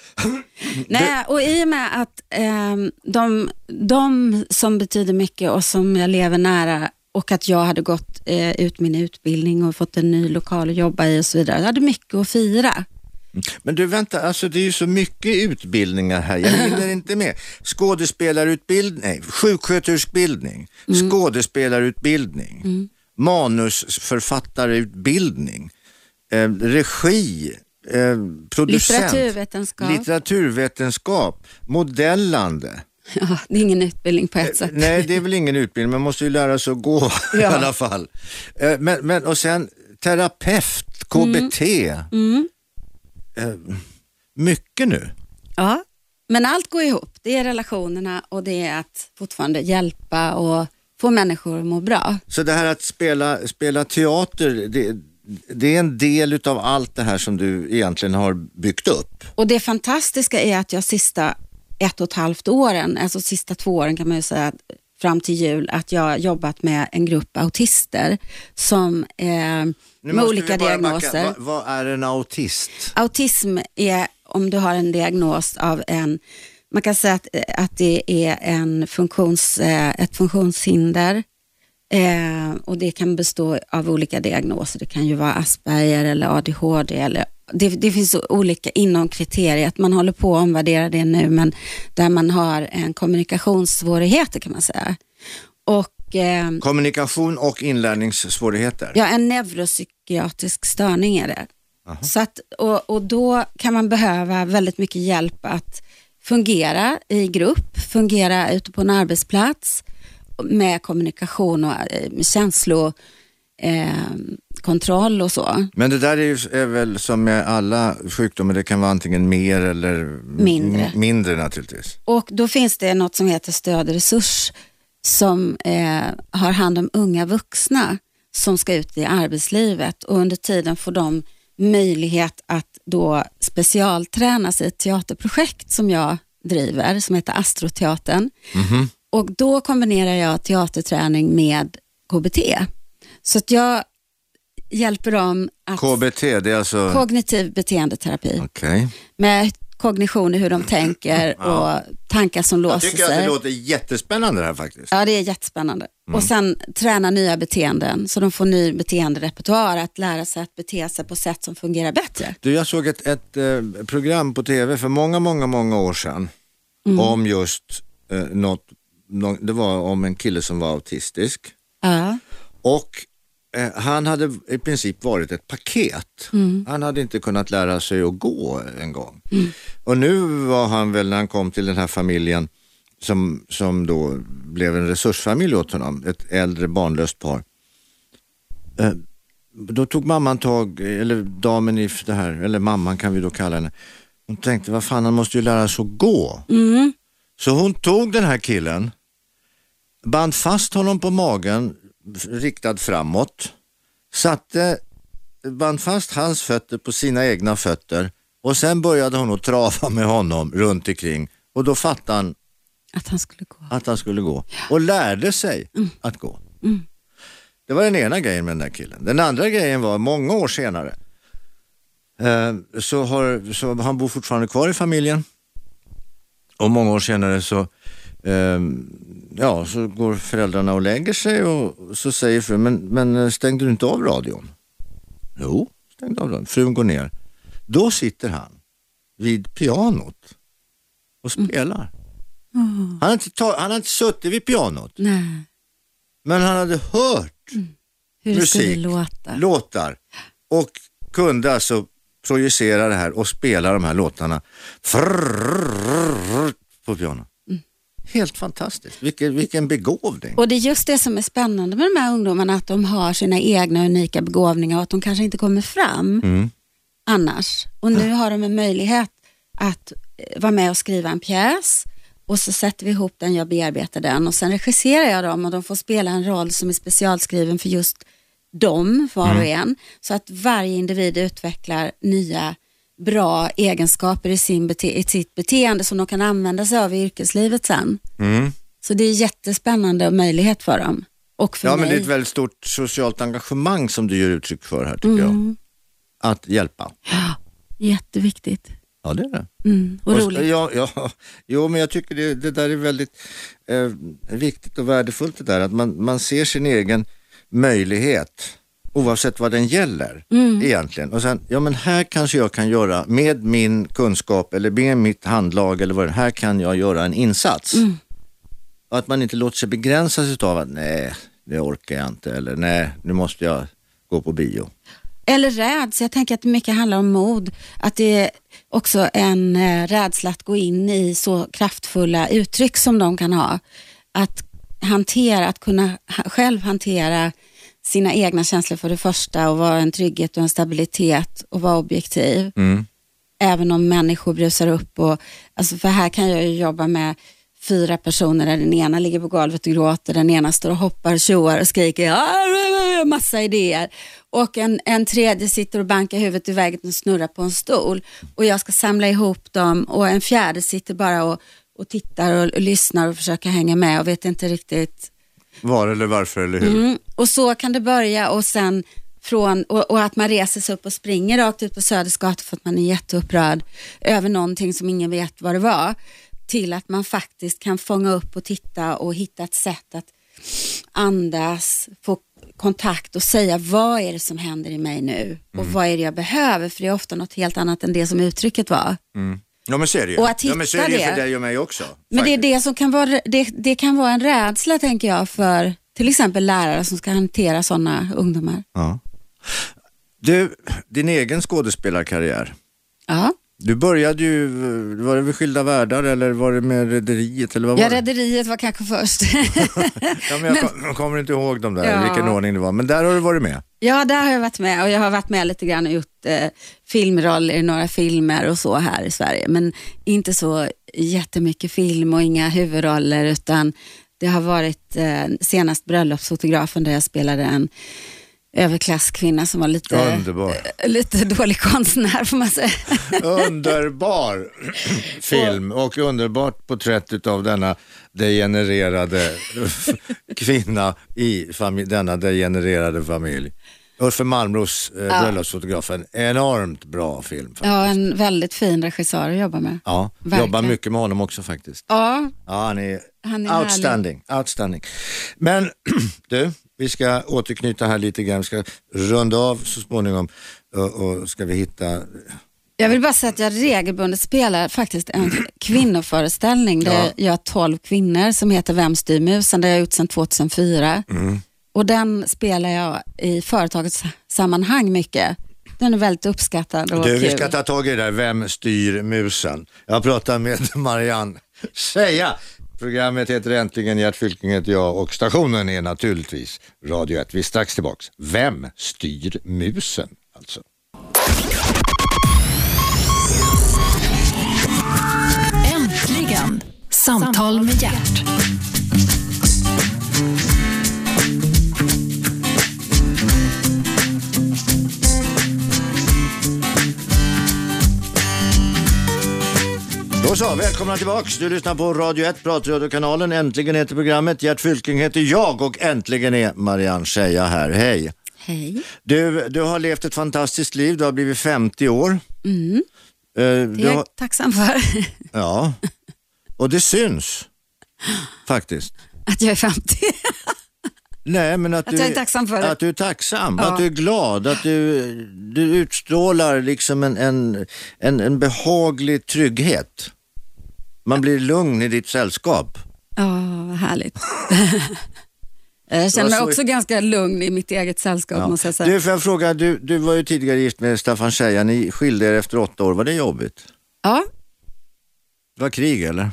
Speaker 7: Nej, och i och med att ehm, de, de som betyder mycket och som jag lever nära och att jag hade gått eh, ut min utbildning och fått en ny lokal att jobba i och så vidare. Jag hade mycket att fira.
Speaker 6: Men du vänta, alltså det är ju så mycket utbildningar här, jag hinner inte med. Skådespelarutbildning, nej, sjuksköterskutbildning, skådespelarutbildning, manusförfattarutbildning, eh, regi, eh, producent,
Speaker 7: Litteraturvetenskap.
Speaker 6: litteraturvetenskap, modellande.
Speaker 7: Ja, det är ingen utbildning på ett sätt.
Speaker 6: Eh, Nej, det är väl ingen utbildning, man måste ju lära sig att gå i
Speaker 7: Ja.
Speaker 6: alla fall. Eh, Men, men, och sen terapeut, KBT.
Speaker 7: Mm.
Speaker 6: Eh, Mycket nu.
Speaker 7: Ja, men allt går ihop. Det är relationerna och det är att fortfarande hjälpa och få människor att må bra.
Speaker 6: Så det här att spela, spela teater, det, det är en del utav allt det här som du egentligen har byggt upp.
Speaker 7: Och det fantastiska är att jag sista ett och ett halvt åren, alltså sista två åren kan man ju säga, att fram till jul, att jag har jobbat med en grupp autister som eh, med olika diagnoser.
Speaker 6: Vad, vad är en autist?
Speaker 7: Autism är om du har en diagnos av en, man kan säga att, att det är en funktions, eh, ett funktionshinder eh, och det kan bestå av olika diagnoser. Det kan ju vara Asperger eller ADHD eller det, det finns så olika inom kriteriet. Man håller på att omvärdera det nu, men där man har en kommunikationssvårigheter kan man säga. Och eh,
Speaker 6: Kommunikation och inlärningssvårigheter.
Speaker 7: ja, en neuropsykiatrisk störning är det. Så att, och, och då kan man behöva väldigt mycket hjälp att fungera i grupp, fungera ute på en arbetsplats med kommunikation och eh, känslokontroll eh, kontroll och så.
Speaker 6: Men det där är, ju, är väl som med alla sjukdomar, det kan vara antingen mer eller m-
Speaker 7: Mindre.
Speaker 6: m- mindre naturligtvis.
Speaker 7: Och då finns det något som heter stöd och resurs som eh, har hand om unga vuxna som ska ut i arbetslivet och under tiden får de möjlighet att då specialtränas i ett teaterprojekt som jag driver som heter Astroteatern. Och då kombinerar jag teaterträning med KBT. Så att jag hjälper dem att...
Speaker 6: KBT, det är alltså...
Speaker 7: Kognitiv beteendeterapi
Speaker 6: Okej.
Speaker 7: med kognition i hur de tänker och tankar som
Speaker 6: Jag
Speaker 7: låser
Speaker 6: tycker att det
Speaker 7: sig.
Speaker 6: låter Mm. jättespännande det här faktiskt.
Speaker 7: Ja, det är jättespännande. Och sen träna nya beteenden så de får ny beteenderepertoar, att lära sig att bete sig på sätt som fungerar bättre.
Speaker 6: Du, jag såg ett, ett eh, program på tv för många, många, många år sedan om just eh, något, nå- det var om en kille som var autistisk.
Speaker 7: Ja,
Speaker 6: Och eh, han hade i princip varit ett paket. Han hade inte kunnat lära sig att gå en gång. Och nu var han väl när han kom till den här familjen som, som då blev en resursfamilj åt honom, ett äldre barnlöst par. Eh, då tog mamman tag, eller damen i det här, eller mamman kan vi då kalla henne. Hon tänkte, vad fan han måste ju lära sig att gå. Så hon tog den här killen band fast honom på magen f- riktad framåt, satte, band fast hans fötter på sina egna fötter och sen började hon att trava med honom runt omkring och då fattade han
Speaker 7: att han skulle gå.
Speaker 6: att han skulle gå och lärde sig att gå. Det var den ena grejen med den där killen. Den andra grejen var många år senare. Eh, så har, så han bor fortfarande kvar i familjen och många år senare så, ehm, ja, så går föräldrarna och lägger sig och så säger frun, men, men eh, stängde du inte av radion? Jo, stängde av radion. Frun går ner. Då sitter han vid pianot och spelar. Han har inte, ta- han har inte suttit vid pianot,
Speaker 7: Nej,
Speaker 6: men han hade hört
Speaker 7: hur det skulle
Speaker 6: Musik.
Speaker 7: låta.
Speaker 6: låtar och kunde alltså projicera det här och spela de här låtarna på piano. Helt fantastiskt, vilken, vilken begåvning.
Speaker 7: Och det är just det som är spännande med de här ungdomarna, att de har sina egna unika begåvningar och att de kanske inte kommer fram annars. Och nu har de en möjlighet att eh, vara med och skriva en pjäs och så sätter vi ihop den, jag bearbetar den och sen regisserar jag dem och de får spela en roll som är specialskriven för just dem, var
Speaker 6: Mm.
Speaker 7: och en. Så att varje individ utvecklar nya bra egenskaper i, sin bete- i sitt beteende som de kan använda sig av i yrkeslivet sen.
Speaker 6: Mm.
Speaker 7: Så det är jättespännande och möjlighet för dem. Och för
Speaker 6: Ja,
Speaker 7: mig.
Speaker 6: men det är ett väldigt stort socialt engagemang som du ger uttryck för här tycker jag. Att hjälpa.
Speaker 7: Jätteviktigt.
Speaker 6: Ja, det är det.
Speaker 7: Mm. Och
Speaker 6: Och-
Speaker 7: roligt.
Speaker 6: Ja, ja, jo, men jag tycker det, det där är väldigt eh, viktigt och värdefullt det där att man, man ser sin egen möjlighet oavsett vad den gäller
Speaker 7: Mm.
Speaker 6: egentligen. Och sen, ja men här kanske jag kan göra med min kunskap eller med mitt handlag eller vad det här kan jag göra en insats.
Speaker 7: Mm.
Speaker 6: Och att man inte låter sig begränsas av att nej, det orkar jag inte eller nej, nu måste jag gå på bio.
Speaker 7: Eller rädsla. Jag tänker att det mycket handlar om mod. Att det är också en eh, rädsla att gå in i så kraftfulla uttryck som de kan ha. Att hantera, att kunna ha- själv hantera sina egna känslor för det första och vara en trygghet och en stabilitet och vara objektiv. även om människor brusar upp. Och, alltså för här kan jag ju jobba med fyra personer där den ena ligger på golvet och gråter, den ena står och hoppar, tjoar och skriker, "Ah!" massa idéer. Och en, en tredje sitter och bankar huvudet i vägen och snurrar på en stol. Och jag ska samla ihop dem och en fjärde sitter bara och, och tittar och, och lyssnar och försöker hänga med och vet inte riktigt
Speaker 6: Var eller varför eller hur.
Speaker 7: Mm. Och så kan det börja och sen från, och, och att man reser sig upp och springer rakt ut på Södersgatan för att man är jätteupprörd över någonting som ingen vet vad det var, till att man faktiskt kan fånga upp och titta och hitta ett sätt att andas, få kontakt och säga vad är det som händer i mig nu och vad är det jag behöver, för det är ofta något helt annat än det som uttrycket var.
Speaker 6: Ja men så är det ju.
Speaker 7: Och att
Speaker 6: ja, men
Speaker 7: hitta
Speaker 6: så är det, ju
Speaker 7: det.
Speaker 6: för dig och mig också.
Speaker 7: Men det är
Speaker 6: faktiskt.
Speaker 7: det som kan vara, det, det kan vara en rädsla tänker jag för till exempel lärare som ska hantera sådana ungdomar.
Speaker 6: Ja. Du, din egen skådespelarkarriär.
Speaker 7: Ja.
Speaker 6: Du började ju, var det vid Skilda Världar eller var det med Rederiet? Eller vad var
Speaker 7: Ja,
Speaker 6: det?
Speaker 7: Rederiet var kanske först.
Speaker 6: Ja, men jag kom- kommer inte ihåg dem där,
Speaker 7: Ja.
Speaker 6: i vilken ordning det var. Men där har du varit med.
Speaker 7: ja, där har jag varit med och jag har varit med lite grann och gjort eh, filmroller i några filmer och så här i Sverige. Men inte så jättemycket film och inga huvudroller utan det har varit eh, senast Bröllopsfotografen där jag spelade en överklasskvinna som var lite, eh,
Speaker 6: Underbar.
Speaker 7: lite dålig konstnär får man säga.
Speaker 6: Underbar film och underbart porträtt av denna degenererade kvinna i fami- denna degenererade familj. Ulf Malmros, eh, bröllopsfotografen, enormt bra film. Ja,
Speaker 7: Ja, en väldigt fin regissör att jobba med.
Speaker 6: ja
Speaker 7: verkligen.
Speaker 6: jobbar mycket med honom också faktiskt.
Speaker 7: Ja,
Speaker 6: Ja, han är,
Speaker 7: Han är
Speaker 6: outstanding, outstanding. Men du, vi ska återknyta här lite grann. Vi ska runda av så småningom och, och ska vi hitta
Speaker 7: Jag vill bara säga att jag regelbundet spelar faktiskt en kvinnoföreställning där jag har tolv kvinnor som heter Vem styr musen, där jag har gjort sedan 2004.
Speaker 6: Mm.
Speaker 7: Och den spelar jag i företagets sammanhang mycket. Den är väldigt uppskattad och
Speaker 6: Du, vi
Speaker 7: kul.
Speaker 6: ska ta tag i det där, vem styr musen? Jag pratar med Marianne Säga. Programmet heter Äntligen, Gert Fylking heter jag och stationen är naturligtvis Radio 1. Vi är strax tillbaks. Vem styr musen? Alltså.
Speaker 2: Äntligen! Samtal med hjärt.
Speaker 6: Då så, välkomna tillbaks. Du lyssnar på Radio 1, pratradiokanalen. Äntligen heter programmet. Gert Fylking heter jag och äntligen är Marianne Säga här. Hej!
Speaker 7: Hej.
Speaker 6: Du, du har levt ett fantastiskt liv. Du har blivit 50 år. Eh,
Speaker 7: Det
Speaker 6: du
Speaker 7: är
Speaker 6: har-
Speaker 7: Mm. jag tacksam för,
Speaker 6: Ja, och det syns faktiskt.
Speaker 7: att jag är 50.
Speaker 6: Nej, men att,
Speaker 7: Att
Speaker 6: du,
Speaker 7: jag är tacksam för det.
Speaker 6: att du är tacksam,
Speaker 7: Ja.
Speaker 6: att du är glad, att du, du utstrålar liksom en, en, en, en behaglig trygghet. Man blir lugn i ditt sällskap.
Speaker 7: Ja, vad härligt. jag känner mig
Speaker 6: så-
Speaker 7: också ganska lugn i mitt eget sällskap måste jag säga.
Speaker 6: Du, får jag fråga, du, du var ju tidigare gift med Staffan Scheja, ni skilde er efter åtta år, var det jobbigt?
Speaker 7: Ja,
Speaker 6: Det var krig eller?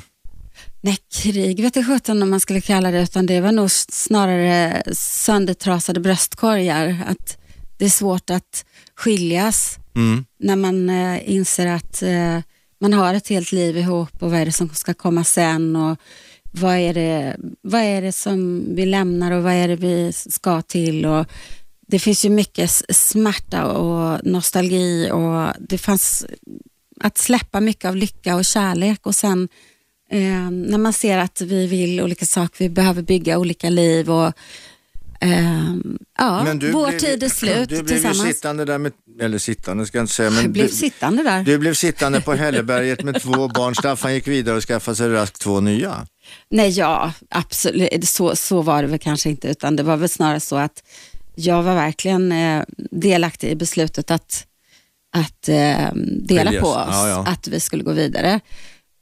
Speaker 7: Nej, krig vet jag sjutton om man skulle kalla det, utan det var nog snarare söndertrasade bröstkorgar. Att det är svårt att skiljas när man eh, inser att eh, man har ett helt liv ihop och vad är det som ska komma sen och vad är det, vad är det som vi lämnar och vad är det vi ska till. Och det finns ju mycket s- smärta och nostalgi och det fanns att släppa mycket av lycka och kärlek och sen eh, när man ser att vi vill olika saker, vi behöver bygga olika liv och eh, ja, vår
Speaker 6: blev ju-
Speaker 7: tid är slut
Speaker 6: Du blev ju
Speaker 7: tillsammans.
Speaker 6: sittande där med, eller sittande ska jag inte säga, men
Speaker 7: jag blev
Speaker 6: du-
Speaker 7: sittande där.
Speaker 6: Du blev sittande på Hälleberget med två barn. Staffan gick vidare och skaffade sig raskt två nya.
Speaker 7: Nej, ja, absolut. Så, så var det väl kanske inte, utan det var väl snarare så att jag var verkligen eh, delaktig i beslutet att, att eh, dela
Speaker 6: Skiljas.
Speaker 7: på oss,
Speaker 6: Ja, ja.
Speaker 7: att vi skulle gå vidare.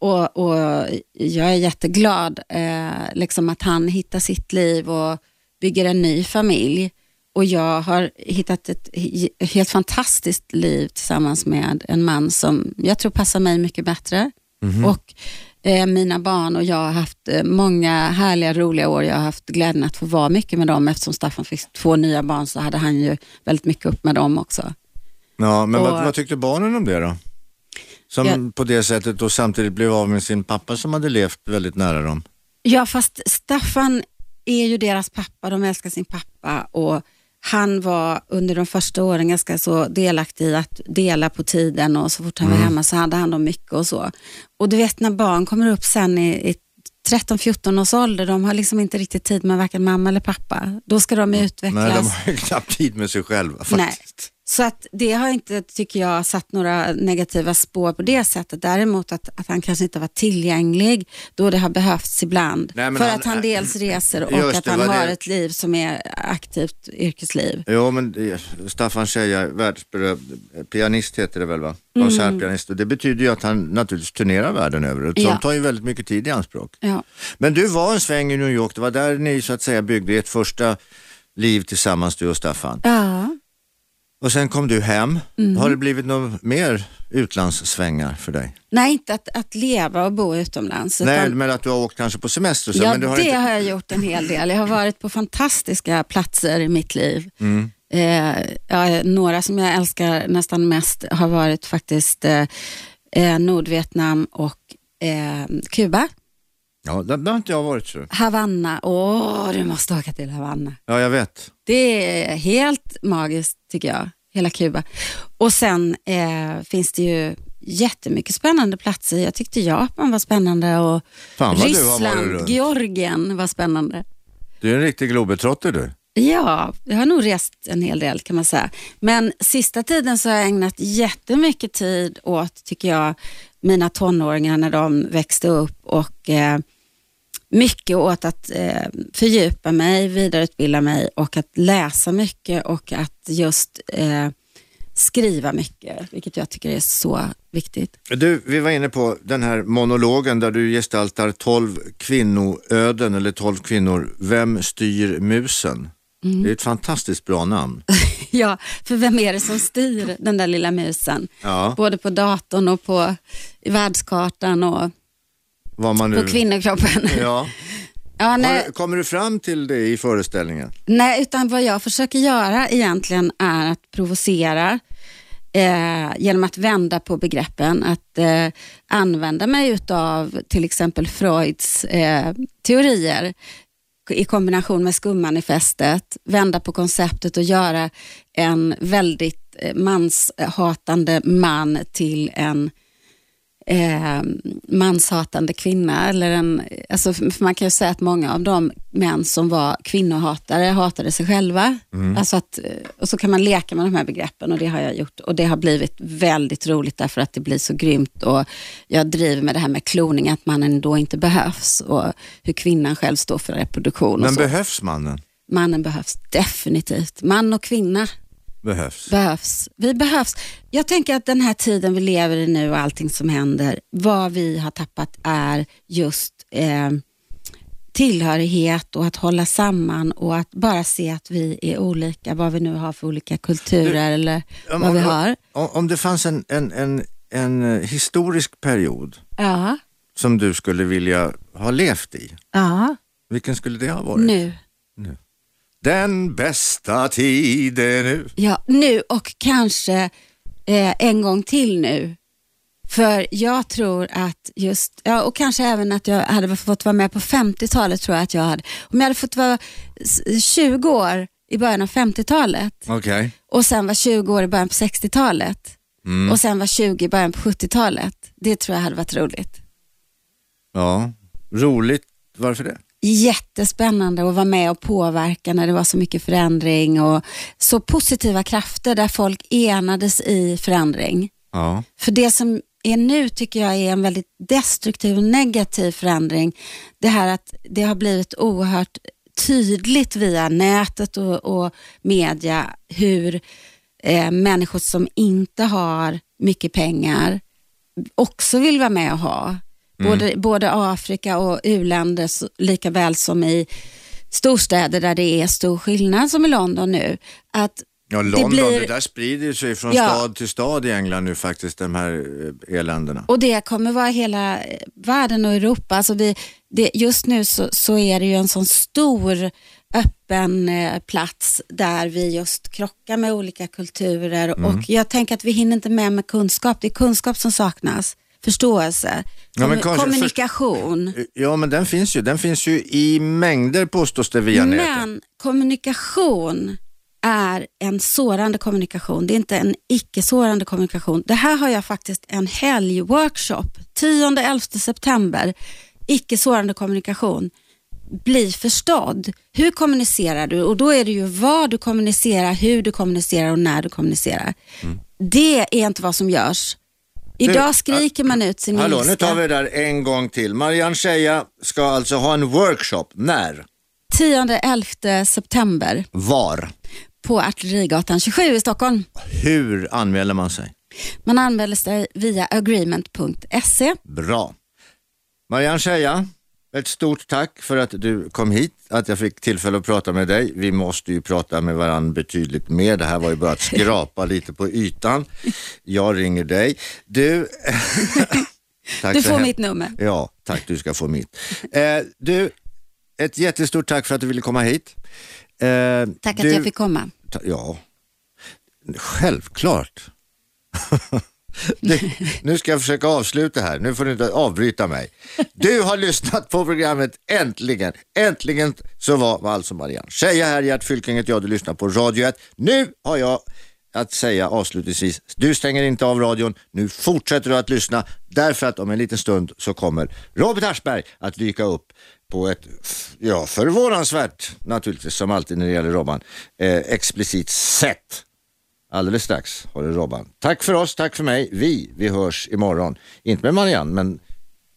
Speaker 7: Och, och jag är jätteglad eh, liksom att han hittar sitt liv och bygger en ny familj. Och jag har hittat ett he- helt fantastiskt liv tillsammans med en man som jag tror passar mig mycket bättre. Och eh, mina barn och jag har haft eh, många härliga, roliga år. Jag har haft glädjen att få vara mycket med dem. Eftersom Staffan fick två nya barn så hade han ju väldigt mycket upp med dem också.
Speaker 6: Ja, men vad,
Speaker 7: Och-
Speaker 6: vad tyckte barnen om det då? Som
Speaker 7: Ja.
Speaker 6: på det sättet och samtidigt blev av med sin pappa som hade levt väldigt nära dem.
Speaker 7: Ja, fast Staffan är ju deras pappa, de älskar sin pappa och han var under de första åren ganska så delaktig i att dela på tiden och så fort han var hemma så hade han dem mycket och så. Och du vet när barn kommer upp sen i, i 13-14 års ålder, de har liksom inte riktigt tid med varken mamma eller pappa. Då ska de utvecklas.
Speaker 6: Nej, de har ju knappt tid med sig själva faktiskt.
Speaker 7: Så att det har inte, tycker jag, satt några negativa spår på det sättet. Däremot att, att han kanske inte var tillgänglig då det har behövts ibland.
Speaker 6: Nej, men
Speaker 7: för
Speaker 6: han-
Speaker 7: att han dels reser och
Speaker 6: Just
Speaker 7: att
Speaker 6: det,
Speaker 7: han
Speaker 6: vad
Speaker 7: har
Speaker 6: det-
Speaker 7: ett liv som är aktivt yrkesliv.
Speaker 6: Jo, men det- Staffan Scheja, världsberömd pianist heter det väl va?
Speaker 7: Mm.
Speaker 6: Konsertpianist. Och det betyder ju att han naturligtvis turnerar världen över. och Sånt
Speaker 7: Ja.
Speaker 6: tar ju väldigt mycket tid i anspråk.
Speaker 7: Ja.
Speaker 6: Men du var en sväng i New York, det var där ni så att säga byggde ert första liv tillsammans du och Staffan.
Speaker 7: ja.
Speaker 6: Och sen kom du hem.
Speaker 7: Mm.
Speaker 6: Har det blivit några mer utlandssvängar för dig?
Speaker 7: Nej, inte att, att leva och bo utomlands.
Speaker 6: Nej,
Speaker 7: utan-
Speaker 6: men att du har åkt kanske på semester. och Så,
Speaker 7: ja,
Speaker 6: men du har
Speaker 7: det
Speaker 6: inte...
Speaker 7: har jag gjort en hel del. Jag har varit på fantastiska platser i mitt liv.
Speaker 6: Mm.
Speaker 7: Eh, ja, några som jag älskar nästan mest har varit faktiskt eh, eh, Nordvietnam och eh, Kuba.
Speaker 6: Ja, där, där har inte jag varit. Så.
Speaker 7: Havanna, åh du måste åka till Havanna.
Speaker 6: Ja, jag vet.
Speaker 7: Det är helt magiskt tycker jag, hela Kuba. Och sen eh, finns det ju jättemycket spännande platser. Jag tyckte Japan var spännande och
Speaker 6: Fan vad du har varit
Speaker 7: Ryssland,
Speaker 6: runt.
Speaker 7: Georgien var spännande.
Speaker 6: Du är en riktig globetrotter du.
Speaker 7: Ja, jag har nog rest en hel del kan man säga. Men sista tiden så har jag ägnat jättemycket tid åt, tycker jag, mina tonåringar när de växte upp och eh, mycket åt att eh, fördjupa mig, vidareutbilda mig och att läsa mycket och att just eh, skriva mycket, vilket jag tycker är så viktigt.
Speaker 6: Du, vi var inne på den här monologen där du gestaltar 12 kvinnoöden eller 12 kvinnor. Vem styr musen?
Speaker 7: Mm.
Speaker 6: Det är ett fantastiskt bra namn.
Speaker 7: Ja, för vem är det som styr den där lilla musen?
Speaker 6: Ja.
Speaker 7: Både på datorn och på i världskartan och
Speaker 6: Vad man nu...
Speaker 7: på kvinnokroppen.
Speaker 6: Ja.
Speaker 7: Ja, nej,
Speaker 6: Har, kommer du fram till det i föreställningen?
Speaker 7: nej, utan vad jag försöker göra egentligen är att provocera eh, genom att vända på begreppen, att eh, använda mig utav till exempel Freuds eh, teorier i kombination med skummanifestet, vända på konceptet och göra en väldigt eh, manshatande man till en eh, manshatande kvinna. Eller en, alltså, för man kan ju säga att många av de män som var kvinnohatare hatade sig själva. Alltså att, eh, och så kan man leka med de här begreppen och det har jag gjort. Och det har blivit väldigt roligt därför att det blir så grymt. Och jag driver med det här med kloning, att mannen då inte behövs och hur kvinnan själv står för reproduktion. Och
Speaker 6: Men
Speaker 7: så.
Speaker 6: behövs mannen?
Speaker 7: Mannen behövs definitivt. Man och kvinna
Speaker 6: Behövs.
Speaker 7: behövs. Vi behövs. Jag tänker att den här tiden vi lever i nu och allting som händer, vad vi har tappat är just eh, tillhörighet och att hålla samman och att bara se att vi är olika, vad vi nu har för olika kulturer eller
Speaker 6: Om-
Speaker 7: vad vi
Speaker 6: om-
Speaker 7: har.
Speaker 6: Om, om det fanns en, en, en, en eh, historisk period
Speaker 7: Ja,
Speaker 6: som du skulle vilja ha levt i,
Speaker 7: ja.
Speaker 6: vilken skulle det ha varit?
Speaker 7: nu.
Speaker 6: Den bästa tiden nu.
Speaker 7: Ja, nu och kanske eh, en gång till nu. För jag tror att just, ja, och kanske även att jag hade fått vara med på 50-talet tror jag att jag hade. Om jag hade fått vara s- 20 år i början av 50-talet
Speaker 6: Okej.
Speaker 7: och sen var 20 år i början på 60-talet och sen var 20 i början på 70-talet. Det tror jag hade varit roligt.
Speaker 6: Ja. Roligt. Varför det?
Speaker 7: jättespännande att vara med och påverka när det var så mycket förändring och så positiva krafter där folk enades i förändring.
Speaker 6: Ja.
Speaker 7: För det som är nu tycker jag är en väldigt destruktiv och negativ förändring. Det här att det har blivit oerhört tydligt via nätet och, och media hur eh, människor som inte har mycket pengar också vill vara med och ha. Både, både Afrika och u-länder så- lika väl som i storstäder där det är stor skillnad som i London nu. Att
Speaker 6: Ja, London, det,
Speaker 7: blir-
Speaker 6: där sprider ju sig från
Speaker 7: Ja.
Speaker 6: stad till stad i England nu faktiskt, de här eh, eländena.
Speaker 7: Och det kommer vara hela eh, världen och Europa. Alltså vi, det, just nu så, så är det ju en sån stor öppen eh, plats där vi just krockar med olika kulturer
Speaker 6: Mm.
Speaker 7: och jag tänker att vi hinner inte med med kunskap. Det är kunskap som saknas, förståelse,
Speaker 6: Ja, men
Speaker 7: kommu-
Speaker 6: kanske-
Speaker 7: kommunikation.
Speaker 6: Ja, men den finns ju. Den finns ju i mängder påstås det via nätet.
Speaker 7: Men kommunikation är en sårande kommunikation. Det är inte en icke-sårande kommunikation. Det här har jag faktiskt en helgworkshop 10-11 september. Icke-sårande kommunikation. Bli förstådd. Hur kommunicerar du? Och då är det ju vad du kommunicerar, hur du kommunicerar och när du kommunicerar.
Speaker 6: Mm.
Speaker 7: Det är inte vad som görs. Idag skriker man ut sin
Speaker 6: Hallå, nu
Speaker 7: ilska.
Speaker 6: tar vi det där en gång till. Marianne Scheja ska alltså ha en workshop. När?
Speaker 7: 10-11 september
Speaker 6: Var?
Speaker 7: på Artillerigatan 27 i Stockholm.
Speaker 6: Hur anmäler man sig?
Speaker 7: Man E. anmäler sig via agreement.se.
Speaker 6: Bra. Marianne Scheja, ett stort tack för att du kom hit, att jag fick tillfälle att prata med dig. Vi måste ju prata med varandra betydligt mer. Det här var ju bara att skrapa lite på ytan. Jag ringer dig. Du, tack
Speaker 7: Du
Speaker 6: så
Speaker 7: får
Speaker 6: hem-
Speaker 7: mitt nummer.
Speaker 6: Ja, tack. Du ska få mitt. Eh, du, ett jättestort tack för att du ville komma hit. Eh,
Speaker 7: Tack
Speaker 6: du-
Speaker 7: att jag fick komma.
Speaker 6: Ta- Ja, självklart. Det, nu ska jag försöka avsluta här, nu får du inte avbryta mig. Du har lyssnat på programmet Äntligen. Äntligen så var alltså Marianne Scheje här, Gert Fylking heter jag, du lyssnar på Radio 1. Nu har jag att säga avslutningsvis, du stänger inte av radion, nu fortsätter du att lyssna därför att om en liten stund så kommer Robert Aschberg att dyka upp på ett, f- ja förvånansvärt naturligtvis som alltid när det gäller Robban, eh, explicit sätt. Alldeles strax har du Robban. Tack för oss, tack för mig. Vi, vi hörs imorgon. Inte med Marianne, men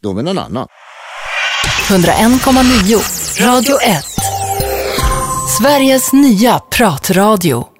Speaker 6: då med någon annan.
Speaker 2: 101,9 Radio 1. Sveriges nya pratradio.